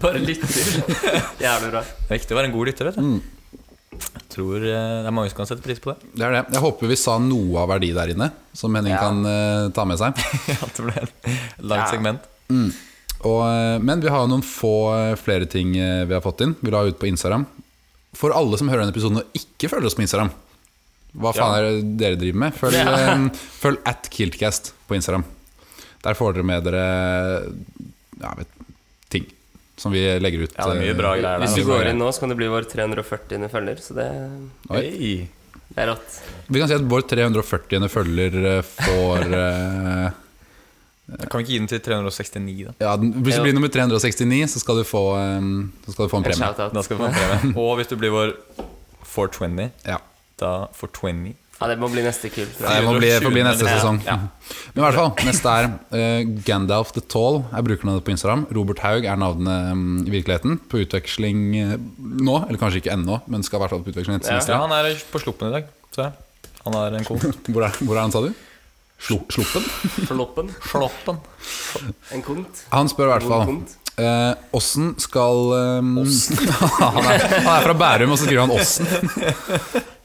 Bare lytter. (laughs) Jævlig bra. Det er viktig å være en god lytter. vet du Jeg tror eh, det er mange som kan sette pris på det. (laughs) Det er det. Jeg håper vi sa noe av verdi der inne Som Henning Ja. kan eh, ta med seg ja, det ble et langt Ja. segment. Og, eh, men vi har jo noen få eh, flere ting eh, vi har fått inn. Vi la ut på Instagram. For alle som hører denne episoden og ikke følger oss på Instagram, hva faen Ja. er det dere driver med? (laughs) Følg, Ja. eh, følg at Kiltcast på Instagram. Der får dere med dere ja, vet, ting som vi legger ut. Ja, det er mye eh, bra greier Hvis der. du går inn nå, så kan du bli vår 340. følger, så det, Oi. Hey. det er rått. Vi kan si at vår 340. følger eh, (laughs) får eh, Da Kan vi ikke gi den til 369, da? Ja, den- hvis du blir nummer 369, så skal du få, eh, så skal du få en En premie. shout-out. Da skal vi få en (laughs) premie. Og hvis du blir vår 420, Ja. da 420 Ja, det må bli neste kull. tror Nei, jeg. det må bli, får bli neste Ja. sesong. Ja. Men i hvert fall, neste er eh, Gandalf the Tall. Jeg bruker navnet på Instagram. Robert Haug er navnet mm, i virkeligheten. På utveksling eh, nå, eller kanskje ikke ennå, men skal i hvert fall på utveksling neste Ja, Ja. semester. han er på sluppen i dag. Se. Han er en (laughs) kon. Hvor, er, hvor er han, sa du? Slu, sluppen? Floppen. Sloppen. En kont. Han spør i hvert God fall. kont. eh, Åssen skal eh, (laughs) han, er, han er fra Bærum, og så skriver han Åssen. (laughs)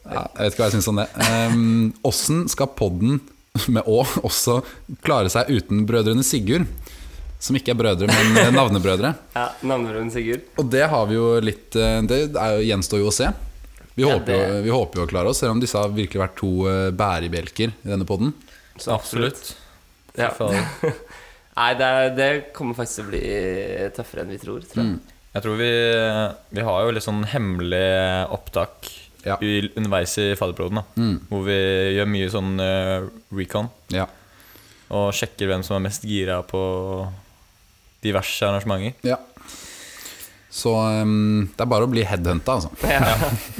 Ja, jeg vet ikke hva jeg syns om det. Eh, Åssen skal podden med Å også klare seg uten brødrene Sigurd? Som ikke er brødre, men eh, navnebrødre. Ja, Navnebroren Sigurd. Og det har vi jo litt eh, Det er jo, gjenstår jo å se. Vi, Ja, håper jo, vi håper jo å klare oss, selv om disse har virkelig vært to eh, bærebjelker i denne poden. Så Absolutt. Ja. Fy faen. (laughs) Nei, det, er, det kommer faktisk til å bli tøffere enn vi tror. tror Mm. (laughs) jeg. Jeg tror vi, vi har jo litt sånn hemmelig opptak Ja. i, underveis i fadderperioden. da, Hvor vi gjør mye sånn eh, recon Ja. og sjekker hvem som er mest gira på diverse arrangementer. ja. Så eh, det er bare å bli headhunta, altså.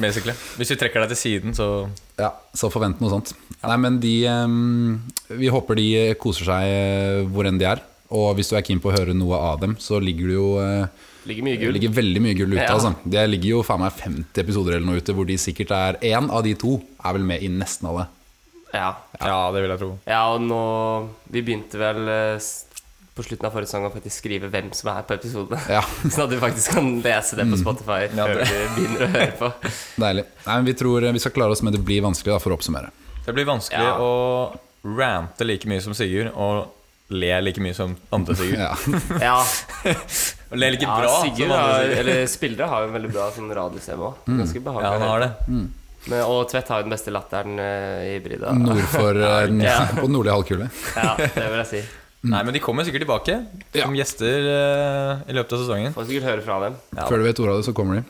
Basically. Hvis vi trekker deg til siden, så Ja, så forvent noe sånt. Nei, men de eh, Vi håper de koser seg eh, hvor enn de er. Og hvis du er keen på å høre noe av dem, så ligger det jo eh, Ligger mye det gull. ligger veldig mye gull ute. Ja. Altså. Det ligger jo faen meg 50 episoder eller noe ute, hvor de sikkert er én av de to er vel med i nesten alle. Ja. Ja, det vil jeg tro. ja, og nå Vi begynte vel eh, s- på slutten av forrige sang å faktisk skrive hvem som er på episodene. (laughs) Ja. Sånn at du faktisk kan lese det på Spotify Mm. Ja, før det- du begynner å høre (laughs) på. Deilig. Nei, men Vi tror eh, vi skal klare oss med det blir vanskelig, da, for å oppsummere. Det blir vanskelig Ja. å rante like mye som Sigurd og le like mye som andre Sigurd. Ja. (laughs) Ja, Og le like ja bra Sigurd som andre har, Sigurd. eller spillere har jo en veldig bra sånn radiostemme òg. Ganske behagelig. Ja, han har det. Men, og Tvedt har jo den beste latteren eh, i hybrida. Nord for eh, den- (laughs) Ja. på den nordlige halvkule. Ja, det vil jeg si. Nei, men de kommer sikkert tilbake som gjester eh, i løpet av sesongen. Får sikkert høre fra dem. Ja. Før du vet ordet av det, så kommer de.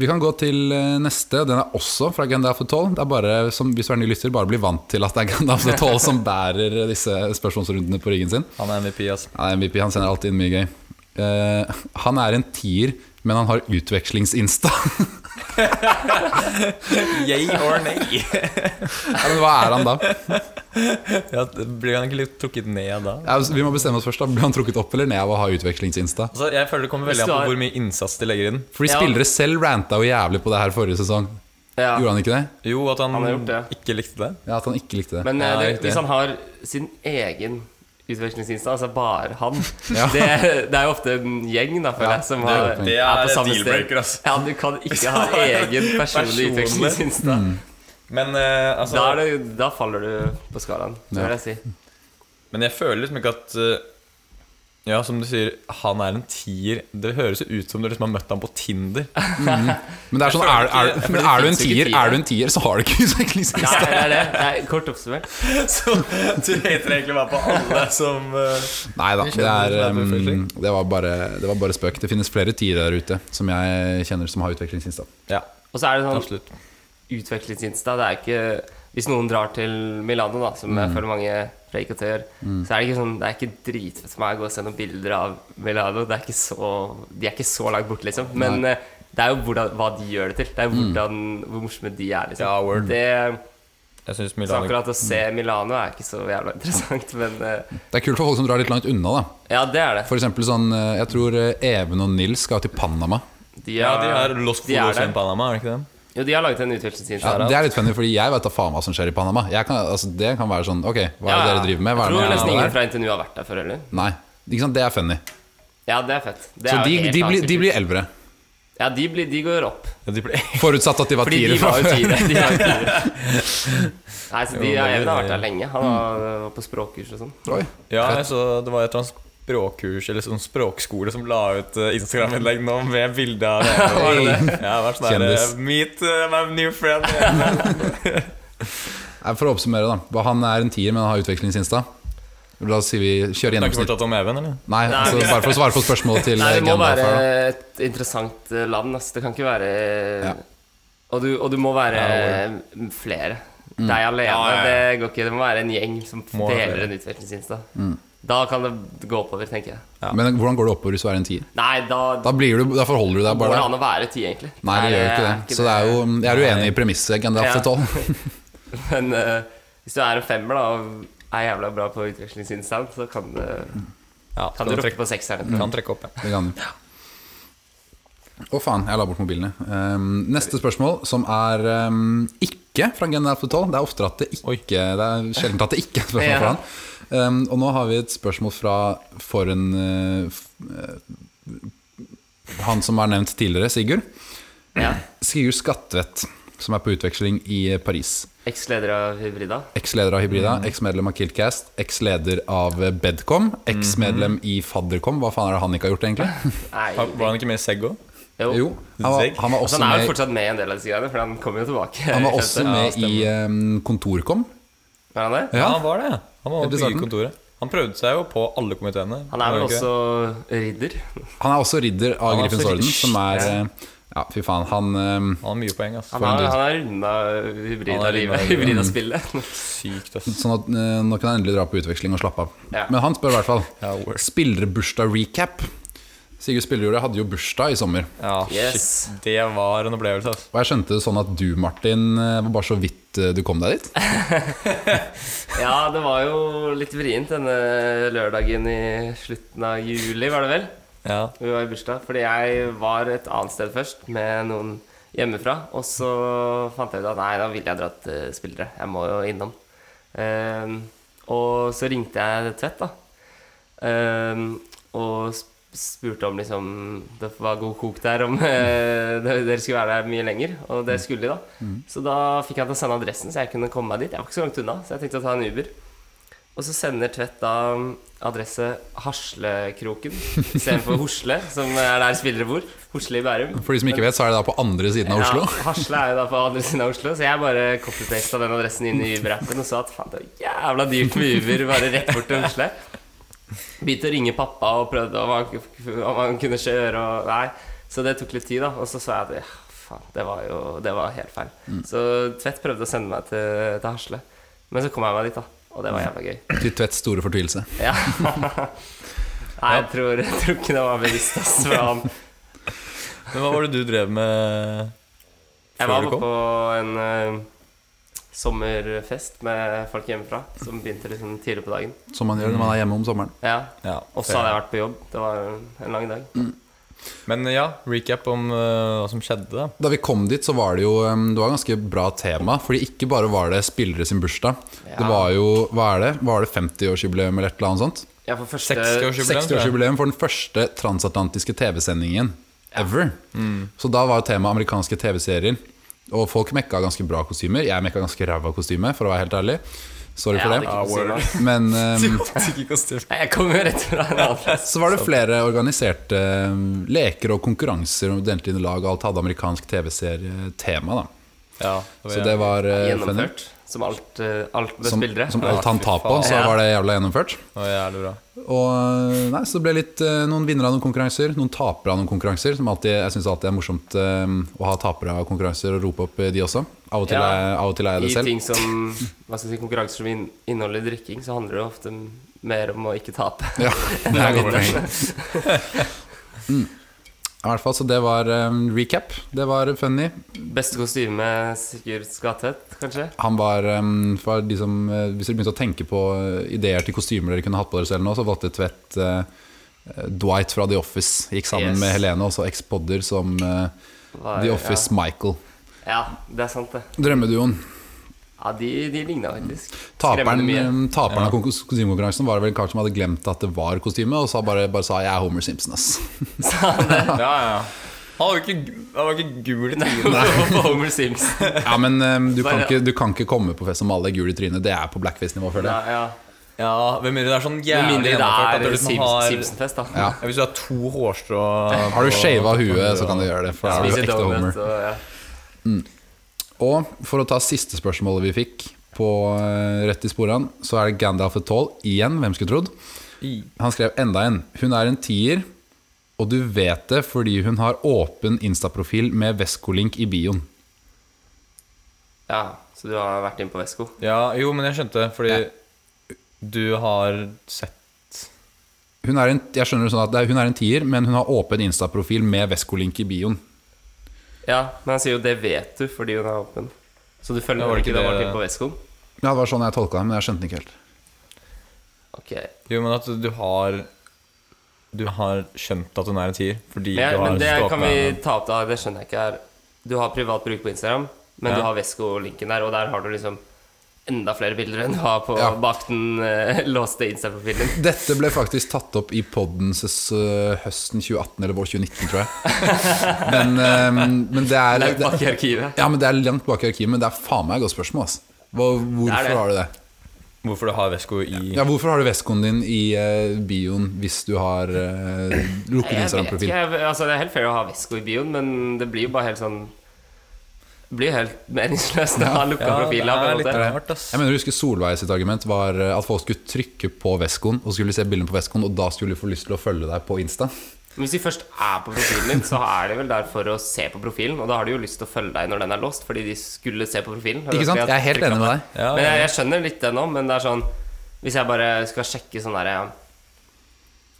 Vi kan gå til eh, neste. Den er også fra Gandalf the Tall. Det er bare, som, hvis du er ny lytter, bare bli vant til at det er Gandalf the Tall som bærer disse spørsmålsrundene på ryggen sin. Han er MVP, altså. Ja, MVP, han sender alltid inn mye gøy. Eh, han er en tier, men han har utvekslingsinsta. (laughs) Yay or nay? ja, men hva er han da? (laughs) Ja, blir han ikke litt trukket ned da? Ja, altså, vi må bestemme oss først. da Blir han trukket opp eller ned av å ha utvekslingsinsta? Altså, jeg føler det kommer veldig Hvis an du på har- hvor mye innsats de legger inn. Fordi Ja. spillere selv ranta jo jævlig på det her forrige sesong. Ja. Gjorde han ikke det? Jo, at han, Han har gjort det. ikke likte det. Ja, At han ikke likte det. Men eh, Ja, det, riktig. hvis han har sin egen utvekslingsinstans, altså bare han (laughs) Ja. det, det er jo ofte en gjeng, da, føler Ja, jeg, som det er har, jo et poeng. Det er er på samme sted. dealbreaker, altså. Ja, du kan ikke ha egen personlig Personlig. utvekslingsinsta. Mm. Men, eh, altså, Da, er det- (laughs) da faller du på skalaen, det Ja. vil jeg si. men jeg føler liksom ikke at eh, Ja, som du sier, han er en tier. Det høres jo ut som du liksom har møtt ham på Tinder. Men det er sånn, er, er, ikke- men det er du en finnes ikke tier, tiere. er du en tier, så har du ikke (laughs) liksom Nei, utviklingsliste. det er det. det er kort oppsummert. (laughs) Så du hater egentlig bare på alle som eh, Nei Vi da, det, kjenner er, det som er um, forfølgelig. det, var bare, det var bare spøk. Det finnes flere tiere der ute som jeg kjenner som har utviklingsinsta. Ja, Og så er det sånn absolutt. utviklingsinsta. Det er ikke Hvis noen drar til Milano, da, som Mm. jeg føler mange fra IKT gjør, så er det ikke sånn Det er ikke dritfett for meg å gå og se noen bilder av Milano. Det er ikke så, de er ikke så langt borte, liksom. Men eh, det er jo hvordan, hva de gjør det til. Mm. Det er hvordan, hvor morsomme de er, liksom. Ja, word. Det, Jeg synes så Milano akkurat å se Mm. Milano er ikke så jævla interessant, men eh, Det er kult for folk som drar litt langt unna. da ja, det er det. For eksempel sånn, eh, Jeg tror eh, Even og Nils skal til Panama. De Ja, har- de har Los de er Polos der. i Panama, er det ikke det? Jo, de har laget en utviklingsinsta. Ja, da. det er litt funny, fordi jeg vet da faen hva som skjer i Panama. Jeg kan, altså, det kan være sånn Ok, hva er det Ja, dere driver med? Hva er Jeg det tror dere nesten ingen gjør der? fra NTNU har vært der før heller. Nei. Ikke sant? Det er funny. Ja, det er fett. Det Så er jo de, helt de, blir, annet de kult. blir elvere. Ja, de, blir, de går opp. Ja, de ble... Forutsatt at de var Fordi tiere de fra var jo før. tiere. De var jo tiere. Nei, så de Jo, ja, det Even har blir- vært eh, der lenge. Han var var på språkkurs og sånn. (laughs) Oi. Ja, jeg så det var et eller annet språkkurs eller sånn språkskole som la ut eh, Instagram-innlegg nå med bilde av det. Var det det? Ja, det var sånn der, Kjendis. eh, Meet eh, my new friend. Ja, Nei, For å oppsummere, da. Hva- Han er en tier, men han har utviklingsinsta. La oss si vi Du har kjører ikke gjennomsnitt. fortalt om Even, eller? Nei, altså, vi- bare for å svare på spørsmålet til Nei, eh, det må Gandalf være her, da. et interessant eh, land. ass. Det kan ikke være Ja. og, du, og du må være eh, flere. Mm. Deg alene, Ja, ja, ja. det går ikke. Det må være en gjeng som Må være flere. deler en utviklingsinsta. Mm. Da kan det gå oppover, tenker jeg. Ja. Men hvordan går det oppover hvis du er en tier? Nei, da, Da, blir du, da forholder du deg går bare det der. an å være ti, egentlig. Nei, det gjør jo ikke det. Så det er jo, jeg er uenig i premisset. Gandalf Ja. til tolv. Men eh, hvis du er en femmer da og er jævla bra på utvekslingsinstant, så kan, det- Ja, kan du rokke på sekseren. tror Mm. jeg. Kan trekke opp, ja. Det kan du. Å faen, jeg la bort mobilene. Ehm, neste spørsmål, som er ehm, ikke fra Gandalf til tolv. Det er oftere at det ikke Det er sjelden at det ikke er et spørsmål fra han. Ehm, og nå har vi et spørsmål fra for en eh, f- eh, Han som var nevnt tidligere, Sigurd. Ja. Sigurd Skattvedt, som er på utveksling i eh, Paris. Eksleder av Hybrida. Eks-leder av Hybrida, eks-medlem av Killcast, eks-leder av Bedcom, eks-medlem i Faddercom. Hva faen er det han ikke har gjort, egentlig? Nei, Var var han ikke med i Seggo? jo. Jo, han var, han var Altså, også han er jo med, fortsatt med i en del av disse greiene, for han kommer jo tilbake. han (laughs) var også skjønte jeg. med i eh, Kontorcom. Er han det? Ja, Ja. han var det. Han var Helt på i starten. byggekontoret. Han prøvde seg jo på alle komiteene. Han er vel Var det ikke også ridder. Han er også ridder Han av er Griffens også orden, ridder. som er eh, Ja, fy faen, han det? eh, Han har mye poeng, altså. ass. Han For en har, dude. han har runda Han har rundet Hybrida-livet. Hybrida. Hybrida-spillet. (laughs) Sykt, ass. Sånn at eh, nå kan han endelig dra på utveksling og slappe av. Ja. Men han spør i hvert fall. Ja, word. Spillebursdag-recap. Sigurd Spillerjordet hadde jo bursdag i sommer. Ja, Yes. shit. Det var en opplevelse, ass. Og jeg skjønte det sånn at du, Martin, eh, var bare så vidt eh, du kom deg dit. Ja, det var jo litt vrient denne lørdagen i slutten av juli, var det vel? Ja. Vi var i bursdag, fordi jeg var et annet sted først med noen hjemmefra. Og så fant jeg ut at nei, da ville jeg dra til spillere. Jeg må jo innom. Ehm, og så ringte jeg Tvedt, da. Ehm, og sp- spurte om liksom Det var god kok der, om (laughs) eh, dere dere skulle være der mye lenger. Og det skulle de, da. Så da fikk han til å sende adressen, så jeg kunne komme meg dit. Jeg var ikke så langt unna, så jeg tenkte å ta en Uber. Og så sender Tvedt da adresse Haslekroken istedenfor Hosle, som er der spillere bor. Hosle i Bærum. For de som ikke vet, så er det da på andre siden av Oslo. Ja, Hasle er jo da på andre siden av Oslo, så jeg bare copy-pasta den adressen inn i Uber-appen og sa at faen, det er jævla dyrt med Uber bare rett bort til Hasle. Begynte å ringe pappa og prøvde om han, om han kunne kjøre og Nei. Så det tok litt tid, da. Og så sa jeg at ja, faen, det var jo Det var helt feil. Så Tvedt prøvde å sende meg til, til Hasle. Men så kom jeg meg dit, da. Og det var jævla gøy. Til Tvedts store fortvilelse. Ja. (laughs) Nei, jeg tror, jeg tror ikke det var bevisst. ass, for han- Men hva var det du drev med? Jeg Før var du bare kom? på en eh, sommerfest med folk hjemmefra, som begynte liksom tidlig på dagen. Som man gjør når man er hjemme om sommeren. Ja, Ja, Og så hadde jeg vært på jobb. Det var en lang dag. Men ja, recap om eh, hva som skjedde, da. Da vi kom dit, så var det jo um, Det var ganske bra tema. Fordi ikke bare var det spillere sin bursdag. Ja. Det var jo Hva er det? Var det 50-årsjubileum eller et eller annet sånt? Ja, for første 60-årsjubileum. tror jeg. 60-årsjubileum for den første transatlantiske TV-sendingen ever. Så da var jo temaet amerikanske TV-serier. Og folk mekka ganske bra kostymer. Jeg mekka ganske ræva kostyme, for å være helt ærlig. Sorry Jeg for hadde det. ikke noe å si nå. Men ehm, Nei, Jeg kom jo rett fra en annen plass. så var det flere organiserte ehm, leker og konkurranser og delte inn i lag, og alt hadde amerikansk TV-serietema, da. Ja, Så det var eh, funny. Gjennomført. Som alt, eh, alt med Som, spillere. som alt han tar på, så Ja. var det jævla gjennomført. Det var jævlig bra. Og nei, så det ble litt eh, noen vinnere av noen konkurranser, noen tapere av noen konkurranser. Som alltid, jeg syns alltid er morsomt eh, å ha tapere av konkurranser og rope opp eh, de også. Av og til, er, Ja. av og til er jeg I det selv. ting som hva skal jeg si, konkurranser som inn- inneholder drikking, så handler det ofte mer om å ikke tape. (laughs) (laughs) Ja, det er et godt poeng. mm. I hvert fall, så det var um, recap. Det var funny. Beste kostyme Sigurd Skatvedt, kanskje? Han var um, for de som eh, Hvis dere begynte å tenke på eh, ideer til kostymer dere kunne hatt på dere selv nå, så valgte Tvedt eh, Dwight fra The Office. Gikk sammen Yes. med Helene, også eks-podder som eh, Var- The Office Michael. Ja. ja, det er sant, det. Drømmeduoen. Ja, De, de ligna faktisk. Taperen, Skremmende mye. um, taperen av konkur- kostymekonkurransen var det vel en kar som hadde glemt at det var kostyme, og sa bare, bare sa 'jeg er Homer Simpson', (laughs) ass. Ja, ja. Han var jo ikke, han var ikke gul i trynet. Nei. (laughs) Homer Simpson. Ja, men um, du, kan Bare- ikke, du kan ikke komme på fest og male gul i trynet. Det er på blackface-nivå, føler jeg. Ja, ja. Ja, Hvem mindre det er sånn Med jævlig mindre det gjennomført at du er liksom Simps- har- Simpson-fest, da. Ja. Ja, Hvis du har to hårstrå Har du på- shava huet, så kan du gjøre det. For da er du Spiser ekte donut Homer. og ja. Og for å ta siste spørsmålet vi fikk på eh, rett i sporene, så er det Gandalf et tall igjen. Hvem skulle trodd? I. Han skrev enda en. Hun er en tier, og du vet det fordi hun har åpen Insta-profil med Veskolink i bioen. ja, så du har vært inne på Vesko? Ja, jo, men jeg skjønte, fordi du har sett Hun er en, jeg skjønner det sånn at det er, hun er en tier, men hun har åpen Insta-profil med Veskolink i bioen. Ja, men han sier jo 'det vet du' fordi hun er åpen. Så du følger Ja, var vel det ikke ikke det det- Martin på Vesko? Ja, Det var sånn jeg tolka det, men jeg skjønte den ikke helt. Ok. Jo, men at du har Du har skjønt at hun er en tier, fordi Men, jeg, du har men det stalket kan vi henne. ta opp, da. Det skjønner jeg ikke. er Du har privat bruk på Instagram, men Ja. du har Vesko-linken der, og der har du liksom enda flere bilder enn du har på Ja. bak den eh, låste Insta-profilen. Dette ble faktisk tatt opp i podden ses- eh, høsten 2018 eller vår 2019, tror jeg. (laughs) Men, eh, men det er Langt det- bak i arkivet. Ja, men Det er langt bak i arkivet, men det er faen meg et godt spørsmål. ass. Hva, hvorfor Det er det. har du det? Hvorfor du har vesko i Ja, Hvorfor har du veskoen din i eh, bioen hvis du har eh, lukket Jeg vet ikke, Instagram-profil? jeg, altså Det er helt fair å ha Vesko i bioen, men det blir jo bare helt sånn Det blir jo helt meningsløst å ha lukka Ja, profiler. på en det er måte. litt rart, ass. Jeg mener, husker Solveig sitt argument var eh, at folk skulle trykke på veskoen og skulle se bildene på veskoen, og da skulle du få lyst til å følge deg på Insta. Men hvis de først er på profilen din, så er de vel der for å se på profilen. Og da har de jo lyst til å følge deg når den er låst, fordi de skulle se på profilen. Ikke sant? Jeg er helt enig med deg. Ja, Men jeg, ja. jeg skjønner litt det nå, men det er sånn Hvis jeg bare skal sjekke sånn derre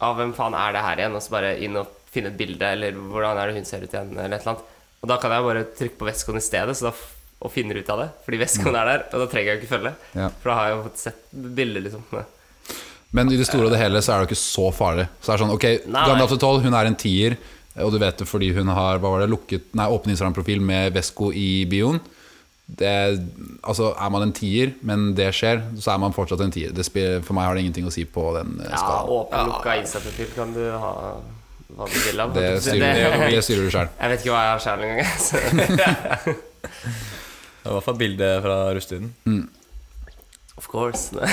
Ja, hvem faen er det her igjen? Og så bare inn og finne et bilde, eller hvordan er det hun ser ut igjen, eller et eller annet. Og da kan jeg bare trykke på veskoen i stedet, så da f og finner ut av det. Fordi veskoen er der, og da trenger jeg jo ikke følge. Mm. Ja. For da har jeg jo fått sett bildet, liksom. Men i det store og det hele så er det jo ikke så farlig. Så er det sånn, ok, Nei. Gandalf the Toll, hun er en tier, og du vet det fordi hun har hva var det, lukket, nei, åpen Instagram-profil med Vesko i bioen. Det, altså, er man en tier, men det skjer, så er man fortsatt en tier. Det spiller, for meg har det ingenting å si på den eh, Ja, skalaen. åpen, lukka Insta-profil kan du ha hva du vil av. det, styrer, det, styrer du sjøl. Jeg vet ikke hva jeg har sjæl engang. jeg, så- Det var i hvert fall bildet fra rustetiden. Of course. Nei.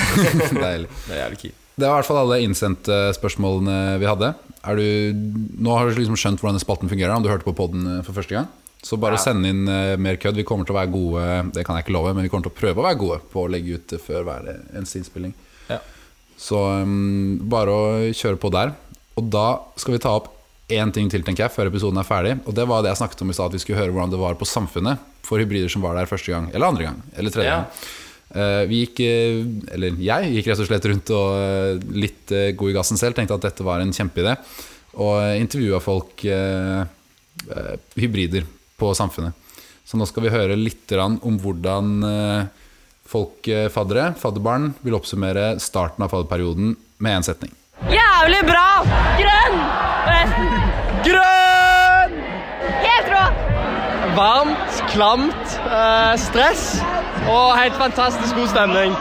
Deilig. Det er jævlig key. Det var i hvert fall alle innsendte spørsmålene vi hadde. Er du, nå har du liksom skjønt hvordan spalten fungerer, om du hørte på podden eh, for første gang. Så bare Ja. send inn eh, mer kødd. Vi kommer til å være gode, det kan jeg ikke love, men vi kommer til å prøve å være gode på å legge ut det før hver eh, eneste innspilling. Ja. Så mm, bare å kjøre på der. Og da skal vi ta opp én ting til, tenker jeg, før episoden er ferdig. Og det var det jeg snakket om i stad, at vi skulle høre hvordan det var på samfunnet for hybrider som var der første gang, eller andre gang, eller tredje Ja. gang. Eh, Vi gikk, eh, eller jeg gikk rett og slett rundt og eh, litt eh, god i gassen selv, tenkte at dette var en kjempeidé, og intervjua folk eh, eh, hybrider på samfunnet. Så nå skal vi høre litt grann om hvordan eh, folk, eh, faddere, fadderbarn, vil oppsummere starten av fadderperioden med én setning. Jævlig bra! Grønn! Forresten. Grønn! Helt rå! Varmt, klamt, eh, stress og helt fantastisk god stemning.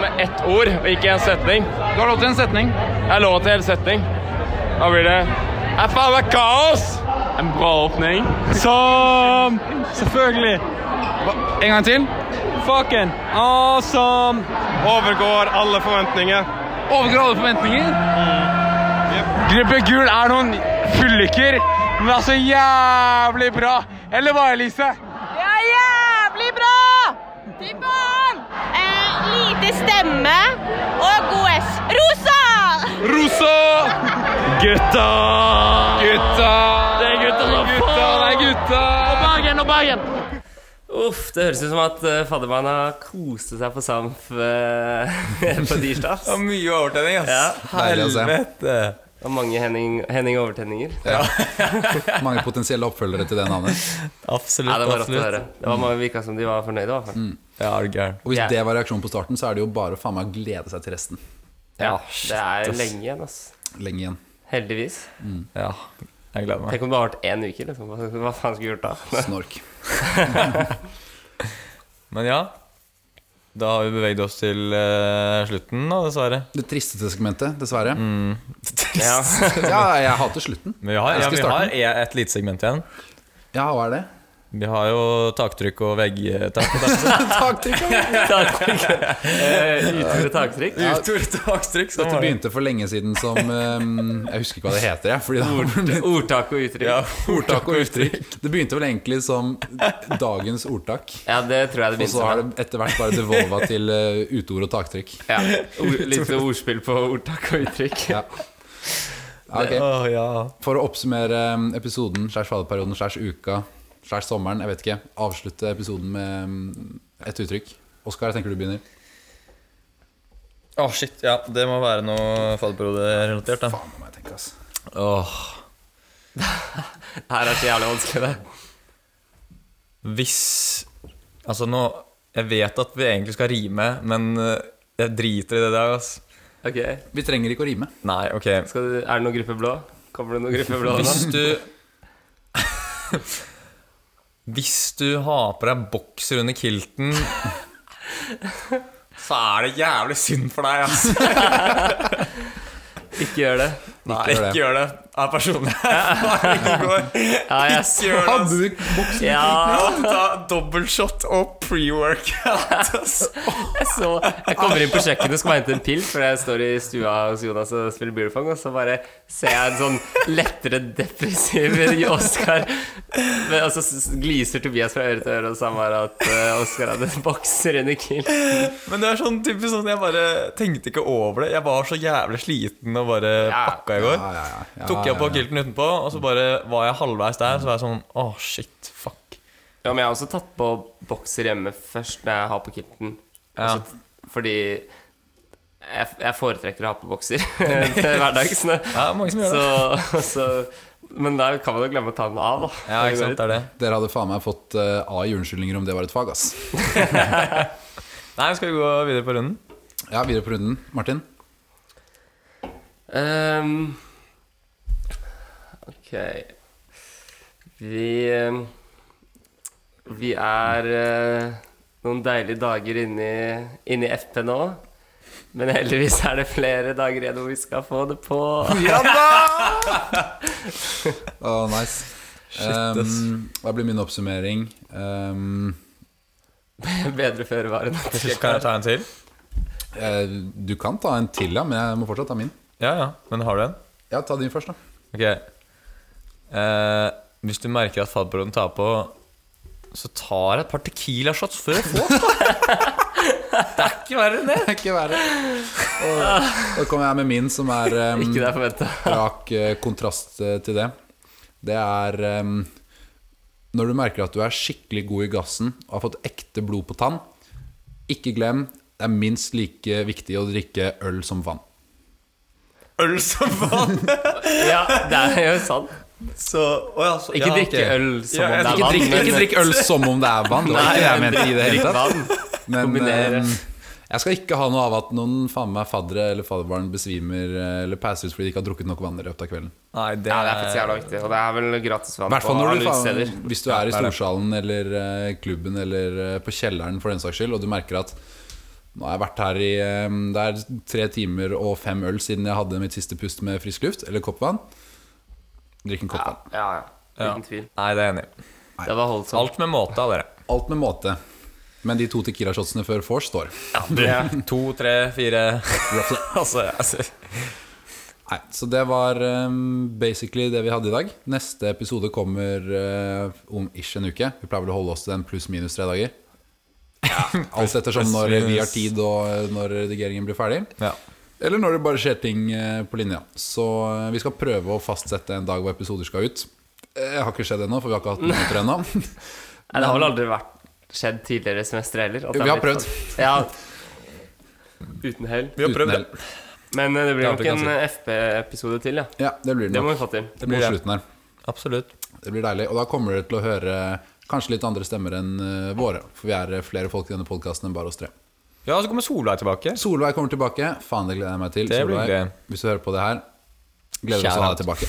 med ett ord, og ikke en setning. Du har lov til en setning. Jeg lov til hel setning. Da blir det Jeg faen meg kaos! En bra åpning. Som selvfølgelig. En gang til. Fucking awesome! Overgår alle forventninger. Overgår alle forventninger. Mm. Gruppe Gul er noen fylliker, men altså jævlig bra. Eller hva, Elise? Det er jævlig bra! Fy faen! Eh, lite stemme og god S. Rosa! Rosa! Gutta! Gutta! Det er gutta, gutta! Det er gutta! Bergen og Bergen! Uff, det høres ut som at uh, faddermann har koste seg på Samf eh, på tirsdag. Det var mye overtenning, ass. Ja, deilig å se. Helvete. Og mange Henning, Henning Overtenninger. Ja, Mange potensielle oppfølgere til det navnet. Absolutt. det var rått å absolutt. høre. Det var mange virka som de var fornøyde, i hvert fall. Ja, er du gæren. Og hvis Ja. det var reaksjonen på starten, så er det jo bare å faen meg glede seg til resten. Ja, det er lenge igjen, ass. Lenge igjen. Heldigvis. Ja, jeg gleder meg. Tenk om det har vært én uke, liksom. Hva, hva faen skulle vi gjort da? Snork. Men ja, da har vi beveget oss til eh, slutten da, dessverre. Det tristeste segmentet, dessverre. Ja. Ja, jeg hater slutten. Men vi har, ja, Jeg skal vi starte har e- et lite segment igjen. Ja, hva er det? Vi har jo taktrykk og veggtak. Taktikk, ja. Taktrykk. Eh, Utvide taktrykk. Utor taktrykk, som Dette var det. begynte for lenge siden som eh, Jeg husker ikke hva det heter, jeg. Fordi det har Ordtak og uttrykk. Ja. (laughs) ordtak og uttrykk. Det begynte vel egentlig som dagens ordtak. det tror jeg det Og så begynte har med. det etter hvert bare devolva til eh, uteord og taktrykk. Ja. (laughs) Ord, litt ordspill på ordtak og uttrykk. Ja. Ja, ok. Åh, ja. For å oppsummere eh, episoden slash faderperioden slash uka slash sommeren, jeg vet ikke, avslutte episoden med eh, et uttrykk. Oskar, jeg tenker du begynner. Åh, shit, ja, det må være noe fadderperiode-relatert da. Faen, nå må jeg tenke, ass. Åh, Her er det så jævlig vanskelig, det. hvis... Altså nå, jeg vet at vi egentlig skal rime, men eh, jeg driter i det der, ass. Ok, Vi trenger ikke å rime. Nei, ok. Skal du, Er det noen gruppe blå? Kommer det noen gruppe blå nå? Hvis du... Hvis du har på deg bokser under kilten, så er det jævlig synd for deg, ass. Ikke gjør det. Nei, gjør det. ikke gjør det. Er personlig (laughs) her. Ja, jeg Ikke gjør det. ass. boksen? Ja, Ja, ta dobbeltshot og pre-workout. ass. så Jeg kommer inn på kjøkkenet og skal bare hente en pill, for jeg står i stua hos Jonas og spiller beerfong, og så bare ser jeg en sånn lettere depressiv Oskar. Men- Og så s- gliser Tobias fra øre til øre, og så han bare at eh, Oskar hadde en bokser under kill. (laughs) Men det er sånn typisk sånn Jeg bare tenkte ikke over det. Jeg var så jævlig sliten og bare pakka i går. Ja, ja, ja. Ja, Tok jeg på ja, ja. kilten utenpå, og så bare var jeg halvveis der. Så var jeg sånn Å, shit. Fuck. Ja, men jeg har også tatt på bokser hjemme først når jeg har på kilten. Ja. Altså, fordi jeg, jeg foretrekker å ha på bokser (laughs) til hverdags. Ja, nå. det er mange som gjør det. Så, så, men da kan man jo glemme å ta den av, da. Ja, ikke sant, det er det. Dere hadde faen meg fått eh, A i unnskyldninger om det var et fag, ass. Nei, skal vi gå videre på runden? Ja, videre på runden. Martin? Ehm, ok Vi ehm, Vi er eh, noen deilige dager inne i- inne i FP nå. Men heldigvis er det flere dager igjen hvor vi skal få det på. Å, nice. um, hva blir min oppsummering? Um, Bedre føre var enn etter. Skal- Kan jeg ta en til? eh, du kan ta en til, ja, men jeg må fortsatt ta min. Ja, ja. Men har du en? Ja, ta din først, da. Ok eh, Hvis du merker at fadbroden tar på Så tar jeg et par tequila shots før jeg får Ikke verre. Og, da kommer jeg med min, som er um, Ikke det jeg forventa. rak eh, kontrast eh, til det. Det er um, når du merker at du er skikkelig god i gassen og har fått ekte blod på tann, ikke glem det er minst like viktig å drikke øl som vann. (laughs) øl som vann Ja, det er jo sant. Så, å ja, så Ikke ja, drikke ok. øl som Ja, om jeg- det er Ikke vann. drikk, men- ikke drikk øl som om det er vann. Det var ikke det jeg mente i det hele tatt. Vann. Men Kombinere. eh, jeg skal ikke ha noe av at noen faen meg faddere eller fadderbarn besvimer eh, eller passer ut fordi de ikke har drukket nok vann i løpet av kvelden. Nei, det Ja, er, det er faktisk jævla viktig. Og det er vel gratis vann I hvert fall når du, alle faen, utesteder. hvis du er i storsalen eller eh, klubben eller eh, på kjelleren for den saks skyld, og du merker at nå har jeg vært her i eh, Det er tre timer og fem øl siden jeg hadde mitt siste pust med frisk luft eller kopp vann. Drikk en kopp vann. Ja, ja. Ja. Uten tvil. Nei, det er jeg enig i. Det var holdsomt. Alt med måte av dere Alt med måte. Men de to Tequila-shotsene før vors står. To, tre, fire (laughs) altså, altså, Nei, Så det var um, basically det vi hadde i dag. Neste episode kommer eh, om ish en uke. Vi pleier vel å holde oss til den pluss-minus tre dager. (laughs) Alt ettersom når vi har tid og eh, når redigeringen blir ferdig. Ja. Eller når det bare skjer ting eh, på linja. Så eh, vi skal prøve å fastsette en dag hvor episoder skal ut. Eh, Det har ikke skjedd ennå, for vi har ikke hatt minutter ennå. Nei, det har vel aldri vært skjedd tidligere semestre heller. at det Vi har blitt sånn. Ja. Uten hell. (laughs) Vi har prøvd det. Uten Men eh, det blir Ja, nok det kan en jeg FP-episode til, ja. Ja, det blir det Det må nok. vi få til. Det blir blir det. slutten her. Absolutt. Det blir deilig. Og da kommer dere til å høre eh, kanskje litt andre stemmer enn eh, våre. For vi er eh, flere folk i denne podkasten enn bare oss tre. Ja, så kommer Solveig tilbake. Solveig kommer tilbake. Faen, det gleder jeg meg til. Det blir Solveig, gøy. hvis du hører på det her, gleder vi oss til å ha deg tilbake.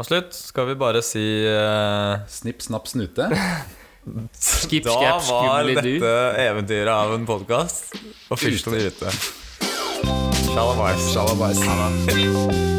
Og slutt skal vi bare si eh, Snipp, snapp, (laughs) snute. Skip, Da skap, var skummelig du. dette eventyret av en podkast. Og fyrst og ute. Shalabais. Shalabais.